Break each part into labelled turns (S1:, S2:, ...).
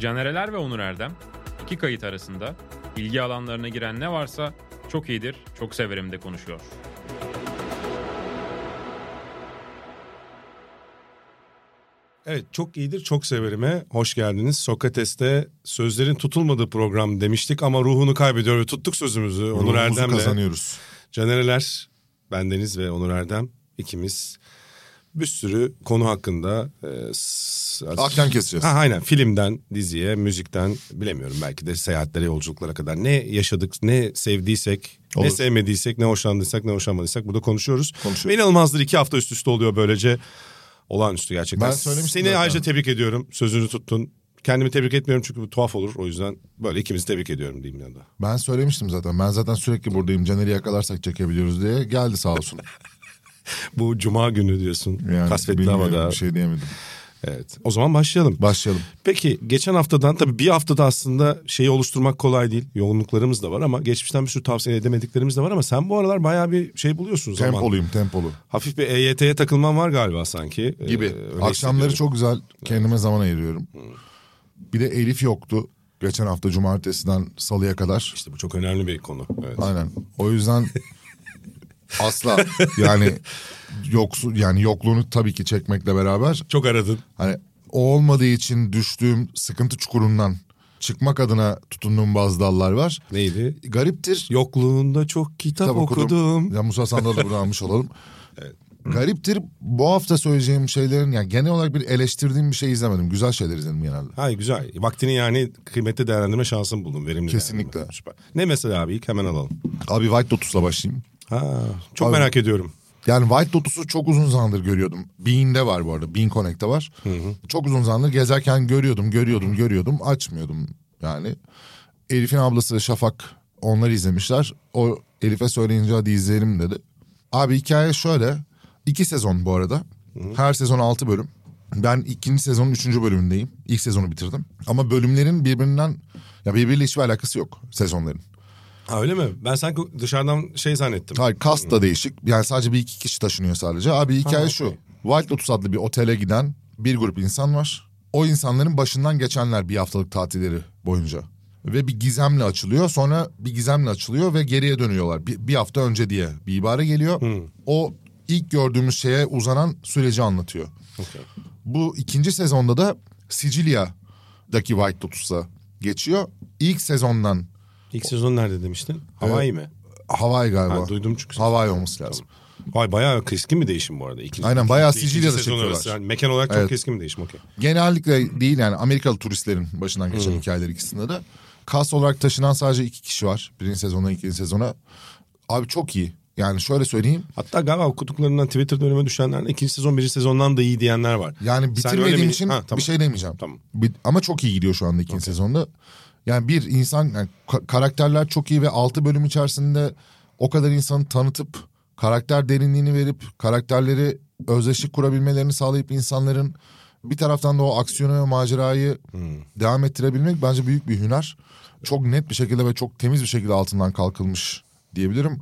S1: Canereler ve Onur Erdem iki kayıt arasında ilgi alanlarına giren ne varsa çok iyidir, çok severim de konuşuyor.
S2: Evet çok iyidir çok severime hoş geldiniz. Sokates'te sözlerin tutulmadığı program demiştik ama ruhunu kaybediyor ve tuttuk sözümüzü. Onur
S3: Ruhumuzu
S2: Erdem'le.
S3: kazanıyoruz.
S2: Canereler, bendeniz ve Onur Erdem ikimiz bir sürü konu hakkında e, s-
S3: Ahkam keseceğiz.
S2: Ha, aynen filmden diziye, müzikten bilemiyorum belki de seyahatlere, yolculuklara kadar ne yaşadık, ne sevdiysek, ne
S3: Olur.
S2: sevmediysek, ne hoşlandıysak, ne hoşlanmadıysak burada konuşuyoruz.
S3: Konuşuyoruz.
S2: Ve inanılmazdır iki hafta üst üste oluyor böylece. Olağanüstü gerçekten.
S3: Ben söylemiştim
S2: Seni
S3: zaten.
S2: ayrıca tebrik ediyorum. Sözünü tuttun. Kendimi tebrik etmiyorum çünkü bu tuhaf olur. O yüzden böyle ikimizi tebrik ediyorum diyeyim yanında.
S3: Ben söylemiştim zaten. Ben zaten sürekli buradayım. Caner'i yakalarsak çekebiliyoruz diye. Geldi sağ olsun.
S2: Bu cuma günü diyorsun.
S3: Yani
S2: Kasvetli
S3: bilmiyorum,
S2: havada.
S3: Bir şey diyemedim.
S2: Evet. O zaman başlayalım.
S3: Başlayalım.
S2: Peki geçen haftadan tabii bir haftada aslında şeyi oluşturmak kolay değil. Yoğunluklarımız da var ama geçmişten bir sürü tavsiye edemediklerimiz de var ama sen bu aralar bayağı bir şey buluyorsun zaman.
S3: Tempoluyum tempolu.
S2: Hafif bir EYT'ye takılman var galiba sanki. Ee,
S3: Gibi.
S2: öyle
S3: Akşamları
S2: hissediyorum.
S3: çok güzel kendime zaman ayırıyorum. Bir de Elif yoktu. Geçen hafta cumartesiden salıya kadar.
S2: İşte bu çok önemli bir konu. Evet.
S3: Aynen. O yüzden asla yani yoksul yani yokluğunu tabii ki çekmekle beraber
S2: Çok aradın.
S3: hani o olmadığı için düştüğüm sıkıntı çukurundan çıkmak adına tutunduğum bazı dallar var.
S2: Neydi?
S3: Gariptir.
S2: Yokluğunda çok kitap,
S3: Kitap
S2: okudum.
S3: Ya Musa Sandal'ı da buradan almış olalım. Gariptir bu hafta söyleyeceğim şeylerin yani genel olarak bir eleştirdiğim bir şey izlemedim. Güzel şeyler izledim genelde.
S2: Hayır güzel. Vaktini yani kıymetli değerlendirme şansın buldun. Verimli
S3: Kesinlikle.
S2: değerlendirme. Süper. Ne mesela abi ilk hemen alalım.
S3: Abi White Lotus'la başlayayım.
S2: Ha, çok
S3: Abi-
S2: merak ediyorum.
S3: Yani White Lotus'u çok uzun zamandır görüyordum. Bean'de var bu arada. Bean Connect'te var. Çok uzun zamandır gezerken görüyordum, görüyordum, görüyordum. Açmıyordum yani. Elif'in ablası Şafak onları izlemişler. O Elif'e söyleyince hadi izleyelim dedi. Abi hikaye şöyle. İki sezon bu arada. Her sezon altı bölüm. Ben ikinci sezonun üçüncü bölümündeyim. İlk sezonu bitirdim. Ama bölümlerin birbirinden... Ya birbiriyle hiçbir alakası yok sezonların.
S2: Ha öyle mi? Ben sanki dışarıdan şey zannettim.
S3: Hayır kast da değişik. Yani sadece bir iki kişi taşınıyor sadece. Abi hikaye
S2: Ha,
S3: şu.
S2: okey.
S3: White Lotus adlı bir otele giden bir grup insan var. O insanların başından geçenler bir haftalık tatilleri boyunca. Ve bir gizemle açılıyor. Sonra bir gizemle açılıyor ve geriye dönüyorlar. Bir, bir hafta önce diye bir ibare geliyor.
S2: Hmm.
S3: O ilk gördüğümüz şeye uzanan süreci anlatıyor.
S2: Okey.
S3: Bu ikinci sezonda da Sicilya'daki White Lotus'a geçiyor. İlk sezondan
S2: İlk sezon nerede demiştin? Hawaii mi?
S3: Ee, Hawaii galiba.
S2: Ha, duydum çünkü.
S3: Hawaii olması lazım.
S2: Vay bayağı keskin bir değişim bu arada. İkinci,
S3: Aynen bayağı
S2: ikinci
S3: Sicilya'da
S2: sezon
S3: çekiyorlar.
S2: arası. Yani mekan olarak çok
S3: Evet.
S2: keskin bir değişim okey.
S3: Genellikle değil yani Amerikalı turistlerin başından geçen hikayeler ikisinde de. Kas olarak taşınan sadece iki kişi var. Birinci sezona ikinci sezona. Abi çok iyi. Yani şöyle söyleyeyim.
S2: Hatta galiba okuduklarından Twitter'da önüme düşenlerden ikinci sezon birinci sezondan da iyi diyenler var.
S3: Yani
S2: Sen öyle
S3: bitirmediğim
S2: mi-
S3: için
S2: Ha, tamam.
S3: bir şey demeyeceğim.
S2: Tamam.
S3: Bir- ama çok iyi gidiyor şu anda ikinci sezonda. Yani bir insan yani ka- karakterler çok iyi ve altı bölüm içerisinde o kadar insanı tanıtıp karakter derinliğini verip karakterleri özdeşlik kurabilmelerini sağlayıp insanların bir taraftan da o aksiyonu ve macerayı devam ettirebilmek bence büyük bir hüner. Çok net bir şekilde ve çok temiz bir şekilde altından kalkılmış diyebilirim.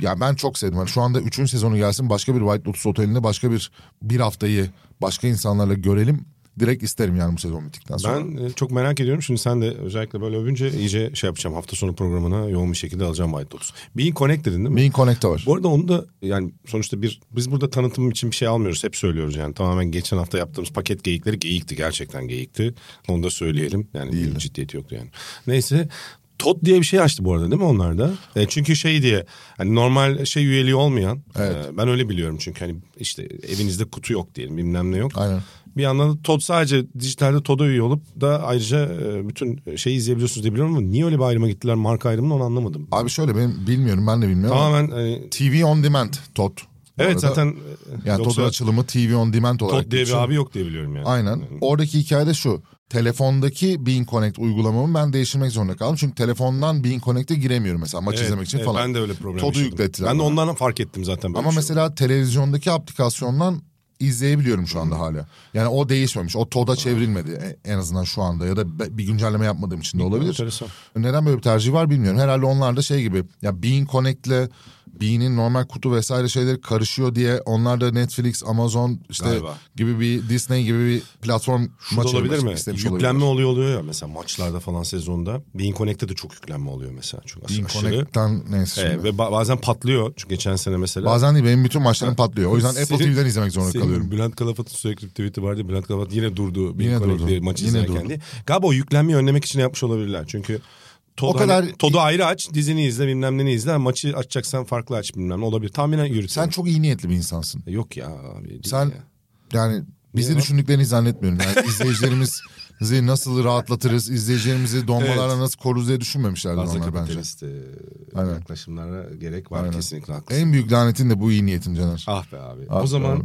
S3: Ya ben çok sevdim. Yani şu anda 3. sezonu gelsin başka bir White Lotus otelinde başka bir bir haftayı başka insanlarla görelim. Direkt isterim yani bu sezon bittikten sonra.
S2: Ben e, çok merak ediyorum. Şimdi sen de özellikle böyle övünce iyice şey yapacağım. Hafta sonu programına yoğun bir şekilde alacağım White Lotus. Being Connect dedin değil mi?
S3: Main Connect'te var.
S2: Bu arada onu da yani sonuçta bir biz burada tanıtım için bir şey almıyoruz. Hep söylüyoruz yani tamamen geçen hafta yaptığımız paket geyikleri geyikti. Gerçekten geyikti. Onu da söyleyelim. Yani bir ciddiyeti yoktu yani. Neyse Tot diye bir şey açtı bu arada değil mi onlar da? E, çünkü şey diye hani normal şey üyeliği olmayan e, ben öyle biliyorum çünkü hani işte evinizde kutu yok diyelim bilmem ne yok.
S3: Aynen.
S2: Bir yandan da Todd sadece dijitalde Todd'a üye olup da ayrıca e, bütün şeyi izleyebiliyorsunuz diye biliyorum ama niye öyle bir ayrıma gittiler marka ayrımını onu anlamadım.
S3: Abi şöyle ben bilmiyorum ben de bilmiyorum. ama
S2: Tamamen hani
S3: TV on demand TOT. Bu
S2: Evet
S3: arada.
S2: zaten e,
S3: yani
S2: yoksa
S3: TOT'un açılımı TV on demand olarak.
S2: Tot diye bir
S3: geçiyor.
S2: abi yok diye biliyorum yani.
S3: Aynen. Oradaki hikayede şu. Telefondaki Bean Connect uygulamamı ben değiştirmek zorunda kaldım. Çünkü telefondan Bean Connect'e giremiyorum mesela maç
S2: Evet,
S3: izlemek için
S2: evet,
S3: falan.
S2: Ben de öyle problem
S3: Todd'u
S2: yaşadım.
S3: yüklettiler.
S2: Ben de
S3: bana.
S2: ondan fark ettim zaten. böyle
S3: Ama
S2: bir şey
S3: mesela televizyondaki aplikasyondan izleyebiliyorum şu anda hala. Yani o değişmemiş. O TOD'a çevrilmedi E, en azından şu anda ya da be- bir güncelleme yapmadığım için de
S2: oldu.
S3: olabilir.
S2: Enteresan.
S3: Neden böyle bir tercih var bilmiyorum. Herhalde onlar da şey gibi ya Bean Connect'le Bee'nin normal kutu vesaire şeyleri karışıyor diye onlar da Netflix, Amazon işte
S2: Galiba.
S3: gibi bir Disney gibi bir platform
S2: Şu da
S3: maçı
S2: olabilir mi? şey
S3: istemiş
S2: Yüklenme
S3: olabilir.
S2: oluyor oluyor ya mesela maçlarda falan sezonda. Bean Connect'te de çok yüklenme oluyor mesela. Çok
S3: Bean
S2: aşırı.
S3: Connect'ten neyse
S2: Ee,
S3: şimdi.
S2: ve ba- bazen patlıyor. Çünkü geçen sene mesela.
S3: Bazen değil benim bütün maçlarım patlıyor. E, O yüzden Apple
S2: Senin-
S3: TV'den izlemek zorunda
S2: Senin
S3: kalıyorum.
S2: Bülent Kalafat'ın sürekli tweet'i vardı. Bülent Kalafat yine durdu. Bir
S3: Yine
S2: Connect'te
S3: durdu.
S2: Maçı
S3: Yine
S2: izlerken
S3: durdu.
S2: diye. Galiba o yüklenmeyi önlemek için yapmış olabilirler. Çünkü Todd,
S3: O kadar-
S2: hani, Todd'u ayrı aç, dizini izle, bilmem neni izle. ama Maçı açacaksan farklı aç bilmem ne olabilir. Tahminen yürütüyor.
S3: Sen çok iyi niyetli bir insansın.
S2: Yok ya abi. değil
S3: Sen
S2: ya.
S3: yani bizi
S2: Niye lan?
S3: düşündüklerini zannetmiyorum. Yani izleyicilerimizi nasıl rahatlatırız, izleyicilerimizi donmalarla
S2: Evet.
S3: nasıl koruruz diye düşünmemişlerdir
S2: Fazla
S3: onlar bence.
S2: kapitalist e,
S3: Aynen.
S2: yaklaşımlara gerek var
S3: Aynen.
S2: kesinlikle haklısın.
S3: En büyük lanetin de bu iyi niyetin Caner.
S2: Ah be abi.
S3: Ah
S2: o
S3: be
S2: zaman
S3: abi.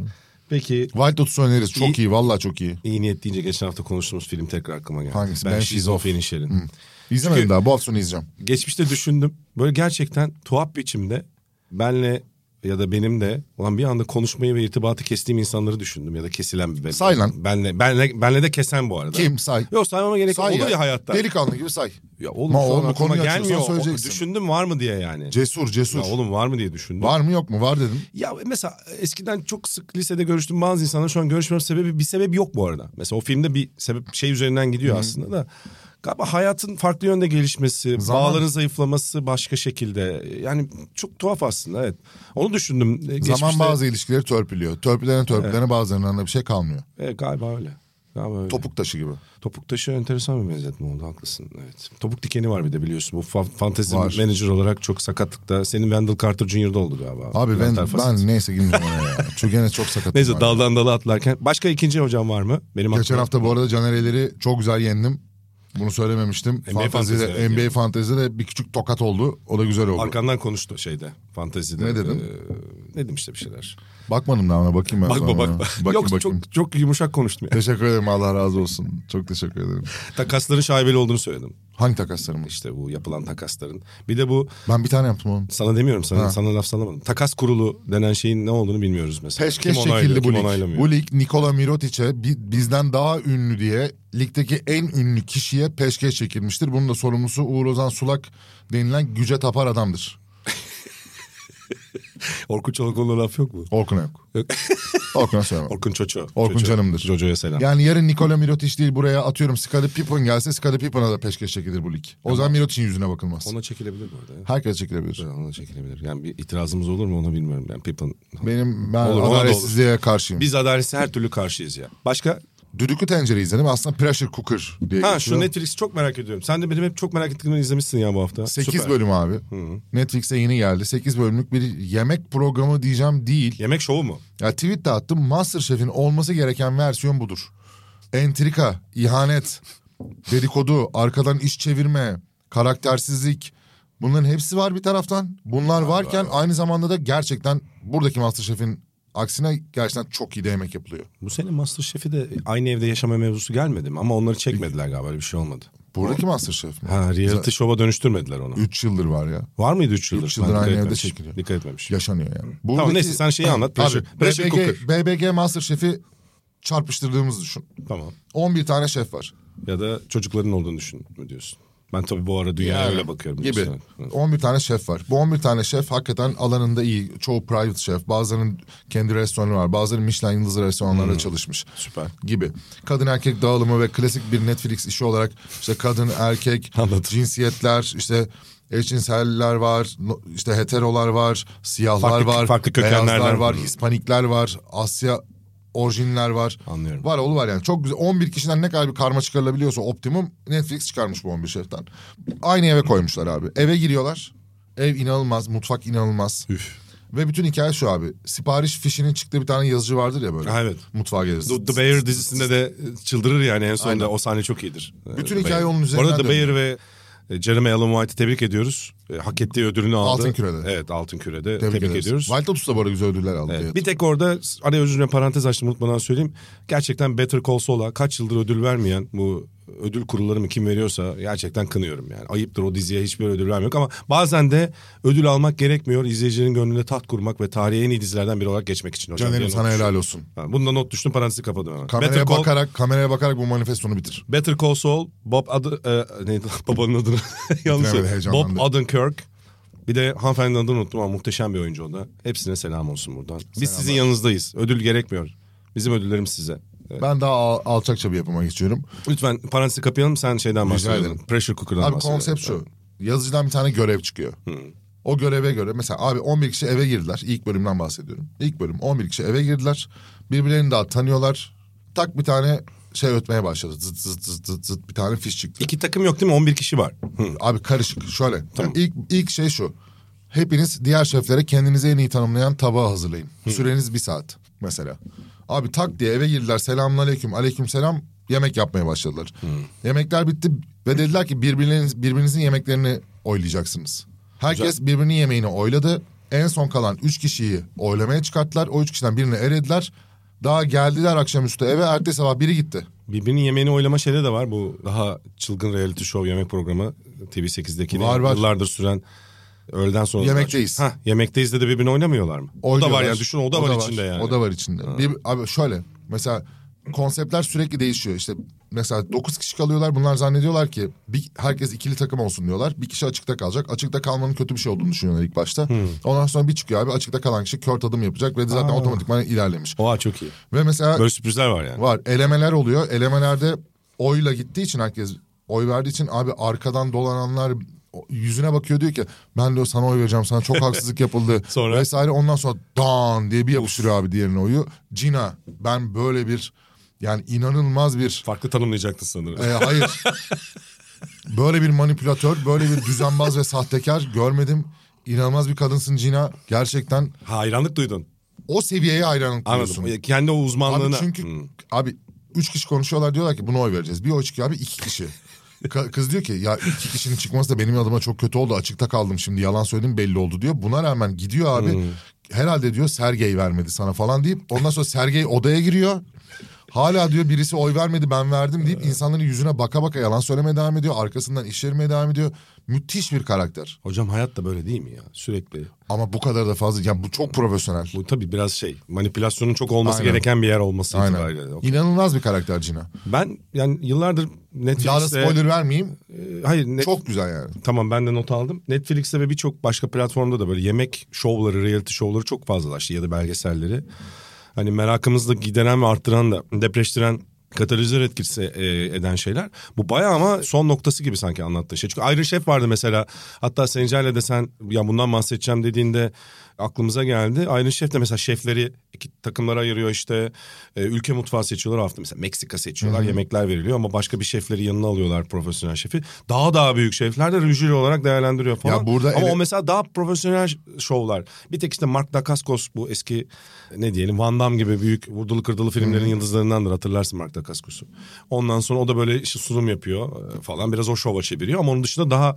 S2: peki
S3: White Lotus'u öneririz. Çok
S2: İyi-
S3: iyi, vallahi çok iyi.
S2: iyi niyet deyince geçen hafta konuştuğumuz film tekrar aklıma geldi.
S3: Hangisi?
S2: Ben, ben
S3: Ben
S2: She's of
S3: She's Hmm.
S2: Finisher'in.
S3: İzlemedim
S2: Çünkü-
S3: daha. Bu hafta sonu izleyeceğim.
S2: Geçmişte düşündüm. Böyle gerçekten tuhaf biçimde benle ya da benim de olan bir anda konuşmayı ve irtibatı kestiğim insanları düşündüm ya da kesilen bir
S3: Say lan.
S2: Benle, benle, benle de kesen bu arada.
S3: Kim? Say.
S2: Yok saymama gerek yok.
S3: Say
S2: olur ya, hayatta.
S3: Delikanlı gibi say.
S2: Ya oğlum
S3: Ma
S2: şu an
S3: oğlum, bu
S2: aklıma
S3: konuyu açıyorsan
S2: gelmiyor. O-
S3: söyleyeceksin.
S2: Düşündüm var mı diye yani.
S3: Cesur, cesur.
S2: Ya oğlum var mı diye düşündüm.
S3: Var mı yok mu? Var dedim.
S2: Ya mesela eskiden çok sık lisede görüştüğüm bazı insanlar şu an görüşmem sebebi bir sebep yok bu arada. Mesela o filmde bir sebep şey üzerinden gidiyor aslında da. Galiba hayatın farklı yönde gelişmesi,
S3: Zaman-
S2: bağların zayıflaması başka şekilde. Yani çok tuhaf aslında evet. Onu düşündüm. Ee, geçmişte-
S3: Zaman bazı ilişkileri törpülüyor. Törpülene törpülene bazılarından da bir şey kalmıyor.
S2: Evet, E, galiba öyle. Galiba öyle.
S3: Topuk taşı gibi.
S2: Topuk taşı enteresan bir benzetme oldu haklısın. Evet. Topuk dikeni var bir de biliyorsun. Bu fa- fantezi
S3: Var.
S2: manager olarak çok sakatlıkta. Senin Wendell Carter Jr'da oldu galiba.
S3: Abi ben,
S2: Plantar fasiti.
S3: ben neyse girmeyeceğim oraya ya. Çünkü gene çok sakatım.
S2: Neyse
S3: var.
S2: daldan dala atlarken. Başka ikinci hocam var mı? Benim
S3: Geçen
S2: aklıma-
S3: hafta bu arada Canereleri çok güzel yendim. Bunu söylememiştim.
S2: NBA
S3: Fantezide,
S2: fantezi, evet,
S3: NBA fantezide bir küçük tokat oldu. O da güzel oldu.
S2: Arkandan konuştu şeyde. Fantezide.
S3: Ne dedim?
S2: Ee, ne demiş de bir şeyler.
S3: Bakmadım daha ona bakayım ben
S2: Bakma
S3: sonra.
S2: bakma.
S3: Bakayım,
S2: Yok
S3: bakayım.
S2: çok çok yumuşak konuştum ya.
S3: Teşekkür ederim Allah razı olsun. Çok teşekkür ederim.
S2: Takasların şaibeli olduğunu söyledim.
S3: Hangi takaslarım?
S2: İşte bu yapılan takasların. Bir de bu
S3: Ben bir tane yaptım oğlum.
S2: sana demiyorum sana
S3: Ha.
S2: sana laf salamadım. Takas kurulu denen şeyin ne olduğunu bilmiyoruz mesela.
S3: Peşkeş
S2: kim onaylıyor,
S3: şekilli bu
S2: kim
S3: lig.
S2: onaylamıyor.
S3: Bu lig Nikola Mirotic'e bi- bizden daha ünlü diye ligdeki en ünlü kişiye peşkeş çekilmiştir. Bunun da sorumlusu Uğur Ozan Sulak denilen güce tapar adamdır.
S2: Orkun Çolakoğlu'na laf yok mu?
S3: Orkun'a yok. Orkun'a söylemem.
S2: Orkun Çoço.
S3: Orkun
S2: Çoço.
S3: canımdır.
S2: Çoco'ya selam.
S3: Yani yarın Nikola Mirotic değil buraya atıyorum Scottie Pippen gelse Scottie Pippen'a da peşkeş çekilir bu lig. O zaman Mirotic'in yüzüne bakılmaz.
S2: Ona çekilebilir bu arada. ya.
S3: Herkes çekilebilir.
S2: Ona çekilebilir. Yani bir itirazımız olur mu onu bilmiyorum. Yani Pippen.
S3: Benim ben
S2: Olur, ona da olur.
S3: adaletsizliğe karşıyım.
S2: Biz adaletse her türlü karşıyız ya. Başka
S3: Düdüklü tencere izledim. Aslında pressure cooker diye
S2: Ha
S3: geçiyor.
S2: şu Netflix'i çok merak ediyorum. Sen de benim hep çok merak ettiğimi izlemişsin ya bu hafta.
S3: 8
S2: Süper.
S3: bölüm abi. Netflix'e yeni geldi. 8 bölümlük bir yemek programı diyeceğim değil.
S2: Yemek şovu mu?
S3: Ya tweet de attım. Masterchef'in olması gereken versiyon budur. Entrika, ihanet, dedikodu, arkadan iş çevirme, karaktersizlik. Bunların hepsi var bir taraftan. Bunlar varken aynı zamanda da gerçekten buradaki Masterchef'in aksine gerçekten çok iyi de yemek yapılıyor.
S2: Bu sene Masterchef'i de aynı evde yaşama mevzusu gelmedi mi? Ama onları çekmediler galiba öyle bir şey olmadı.
S3: Buradaki Masterchef mi?
S2: Ha reality şova dönüştürmediler onu.
S3: 3 yıldır var ya.
S2: Var mıydı 3 yıldır?
S3: Üç yıldır
S2: Ben dikkat
S3: aynı evde
S2: etmemişim.
S3: çekiliyor.
S2: Dikkat etmemiş.
S3: Yaşanıyor yani.
S2: Tamam neyse sen şeyi anlat. Pressure,
S3: Abi,
S2: pressure cooker.
S3: BBG, BBG Masterchef'i çarpıştırdığımızı düşün.
S2: Tamam.
S3: 11 tane şef var.
S2: Ya da çocukların olduğunu düşün mü diyorsun? Ben tabii bu ara dünyaya
S3: Yani,
S2: öyle bakıyorum.
S3: Gibi.
S2: diyorsun. Hı.
S3: 11 tane şef var. Bu 11 tane şef hakikaten alanında iyi. Çoğu private şef. Bazılarının kendi restoranı var. Bazıları Michelin yıldızı restoranlarda çalışmış.
S2: Hmm. Süper.
S3: Gibi. Kadın erkek dağılımı ve klasik bir Netflix işi olarak işte kadın erkek, cinsiyetler, işte eşcinseller var, no- işte heterolar var, siyahlar
S2: Farklı-
S3: var,
S2: farklı kökenlerden.
S3: beyazlar var,
S2: Hı.
S3: Hispanikler var, Asya orijinler var.
S2: Anlıyorum.
S3: Var oğlu var yani. Çok güzel. 11 kişiden ne kadar bir karma çıkarılabiliyorsa optimum Netflix çıkarmış bu 11 şeften. Aynı eve koymuşlar abi. Eve giriyorlar. Ev inanılmaz, mutfak inanılmaz.
S2: Üf.
S3: Ve bütün hikaye şu abi. Sipariş fişinin çıktığı bir tane yazıcı vardır ya böyle.
S2: Ha, evet.
S3: Mutfağa gelirsin.
S2: The, The Bear dizisinde de e, çıldırır yani en sonunda. O sahne çok iyidir.
S3: Bütün
S2: The
S3: hikaye
S2: Bear.
S3: onun
S2: Bu arada
S3: üzerinden
S2: The Bear ve e, Jeremy Allen White'ı tebrik ediyoruz. E, Hak ettiği ödülünü aldı.
S3: Altın Küre'de.
S2: Evet Altın Küre'de.
S3: Tebrik,
S2: Tebrik, ediyoruz.
S3: White Lotus da bu arada güzel ödüller aldı.
S2: Evet,
S3: diye.
S2: Bir tek orada araya özür dilerim, parantez açtım unutmadan söyleyeyim. Gerçekten Better Call Saul'a kaç yıldır ödül vermeyen bu ödül kurulları mı kim veriyorsa gerçekten kınıyorum yani. Ayıptır o diziye hiçbir ödül vermiyor ama bazen de ödül almak gerekmiyor. İzleyicinin gönlünde taht kurmak ve tarihe en iyi dizilerden biri olarak geçmek için hocam.
S3: Caner'im
S2: diye
S3: sana
S2: not
S3: helal
S2: düştüm.
S3: olsun.
S2: Ha, Bunu da not düştüm parantezi kapadım hemen.
S3: Kameraya
S2: Better Call,
S3: bakarak kameraya bakarak bu manifestonu bitir.
S2: Better Call Saul, Bob adı, e, neydi lan babanın adını yanlış
S3: Bitiremedim,
S2: söyledim. Bob
S3: heyecanlandım.
S2: Odenkirk Bir de hanımefendinin adını unuttum ama muhteşem bir oyuncu o da. Hepsine selam olsun buradan. Biz sizin yanınızdayız. Ödül gerekmiyor. Bizim ödüllerimiz size. Evet.
S3: Ben daha al- alçakça bir yapıma geçiyorum.
S2: Lütfen parantezi kapayalım sen şeyden
S3: Rica
S2: bahsedelim.
S3: ederim.
S2: Pressure cooker'dan
S3: Abi
S2: bahsedelim.
S3: konsept şu. Yazıcıdan bir tane görev çıkıyor. O göreve göre mesela abi 11 kişi eve girdiler. İlk bölümden bahsediyorum. İlk bölüm 11 kişi eve girdiler. Birbirlerini daha tanıyorlar. Tak bir tane şey ötmeye başladı. Zıt zıt zıt zıt zıt bir tane fiş çıktı.
S2: İki takım yok değil mi? 11 kişi var. Hı.
S3: Abi karışık şöyle. Yani ilk, ilk şey şu. Hepiniz diğer şeflere kendinizi en iyi tanımlayan tabağı hazırlayın. Süreniz bir saat mesela. Abi tak diye eve girdiler. Selamun aleyküm. Aleyküm selam. Yemek yapmaya başladılar. Yemekler bitti ve dediler ki birbirleriniz, birbirinizin yemeklerini oylayacaksınız. Herkes birbirinin yemeğini oyladı. En son kalan üç kişiyi oylamaya çıkarttılar. O üç kişiden birini erediler. Daha geldiler akşamüstü eve. Ertesi sabah biri gitti.
S2: Birbirinin yemeğini oylama şeyleri de var. Bu daha çılgın reality show yemek programı TV8'deki de
S3: Var, var.
S2: yıllardır süren öğleden sonra.
S3: Yemekteyiz.
S2: Ha, yemekteyiz de, de birbirini oynamıyorlar mı? O da var
S3: Oynuyorlar.
S2: yani düşün o da var içinde yani.
S3: O da var içinde. Bir, abi şöyle mesela konseptler sürekli değişiyor. İşte mesela 9 kişi kalıyorlar bunlar zannediyorlar ki bir, herkes ikili takım olsun diyorlar. Bir kişi açıkta kalacak. Açıkta kalmanın kötü bir şey olduğunu düşünüyorlar ilk başta.
S2: Hmm.
S3: Ondan sonra bir çıkıyor abi açıkta kalan kişi kör tadım yapacak ve zaten otomatikman ilerlemiş.
S2: Oha çok iyi.
S3: Ve mesela
S2: Böyle sürprizler var yani.
S3: var elemeler oluyor. Elemelerde oyla gittiği için herkes oy verdiği için abi arkadan dolananlar o- yüzüne bakıyor diyor ki ben diyor sana oy vereceğim sana çok haksızlık yapıldı
S2: Sonra?
S3: vesaire ondan sonra dan diye bir yapıştırıyor abi diğerine oyu. Cina ben böyle bir yani inanılmaz bir
S2: Farklı tanımlayacaktın sanırım.
S3: e, hayır böyle bir manipülatör böyle bir düzenbaz ve sahtekar görmedim. İnanılmaz bir kadınsın Cina gerçekten
S2: Hayranlık duydun.
S3: o seviyeye hayranlık duyuyorsun.
S2: Anladım. E, Kendi o uzmanlığına. Hmm.
S3: Abi çünkü
S2: Hı.
S3: abi üç kişi konuşuyorlar diyorlar ki buna oy vereceğiz. Bir oy çıkıyor abi iki kişi. Ka- Kız diyor ki ya iki kişinin çıkması da benim adıma çok kötü oldu. Açıkta kaldım şimdi yalan söyledim belli oldu diyor. Buna rağmen gidiyor
S2: Hmm.
S3: abi. Herhalde diyor Sergey vermedi sana falan deyip ondan sonra Sergey odaya giriyor. Hala diyor birisi oy vermedi ben verdim deyip insanların yüzüne baka baka yalan söylemeye devam ediyor. Arkasından iş yerine devam ediyor. Müthiş bir karakter.
S2: Hocam hayat da böyle değil mi ya? Sürekli.
S3: Ama bu kadar da fazla. Yani bu çok profesyonel.
S2: Bu tabii biraz şey manipülasyonun çok olması
S3: Aynen.
S2: gereken bir yer olması
S3: Aynen.
S2: itibariyle. Okey.
S3: İnanılmaz bir karakter Cina.
S2: Ben yani yıllardır
S3: Daha da
S2: Netflix'te...
S3: spoiler vermeyeyim.
S2: E, Hayır net,
S3: Çok güzel yani.
S2: Tamam ben de not aldım. Netflix'te ve birçok başka platformda da böyle yemek şovları, reality şovları çok fazlalaştı ya da belgeselleri. Hani merakımızı da gideren ve arttıran da depreştiren katalizör etkisi e, eden şeyler. Bu bayağı ama son noktası gibi sanki anlattığın şey. Çünkü ayrı şef vardı mesela. Hatta Sencer'le de sen ya bundan bahsedeceğim dediğinde aklımıza geldi. Ayrı şef de mesela şefleri iki takımlara ayırıyor işte. E, ülke mutfağı seçiyorlar hafta mesela Meksika seçiyorlar. Yemekler veriliyor ama başka bir şefleri yanına alıyorlar profesyonel şefi. Daha daha büyük şefler de jüri olarak değerlendiriyor falan.
S3: Ya burada
S2: ama
S3: ele-
S2: o mesela daha profesyonel şovlar. Bir tek işte Mark Dacascos bu eski ne diyelim Van Damme gibi büyük vurdulu kırdılı filmlerin yıldızlarındandır hatırlarsın Mark Dacascos'u. Ondan sonra o da böyle işte sunum yapıyor e, falan biraz o şova çeviriyor ama onun dışında daha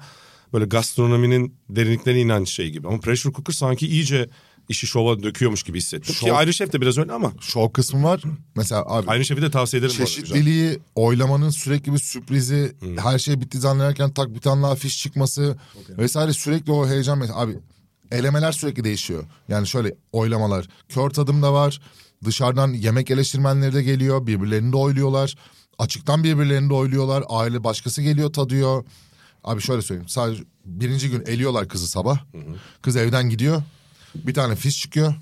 S2: böyle gastronominin derinliklerine inen şey gibi. Ama Pressure Cooker sanki iyice işi şova döküyormuş gibi hissettim. Ki
S3: Şov-
S2: Ayrı Şef de biraz öyle ama
S3: şov kısmı var. Mesela abi
S2: Ayrı Şef'i de tavsiye ederim. bu arada, güzel.
S3: çeşitliliği, oylamanın sürekli bir sürprizi, her şey bitti zannederken tak bir tane daha fiş çıkması vesaire sürekli o heyecan. mes- Abi elemeler sürekli değişiyor. Yani şöyle oylamalar. Kör tadım da var. Dışarıdan yemek eleştirmenleri de geliyor. Birbirlerini de oyluyorlar. Açıktan birbirlerini de oyluyorlar. Aile başkası geliyor tadıyor. Abi şöyle söyleyeyim. Sadece birinci gün eliyorlar kızı sabah. Kız evden gidiyor. Bir tane fiş çıkıyor.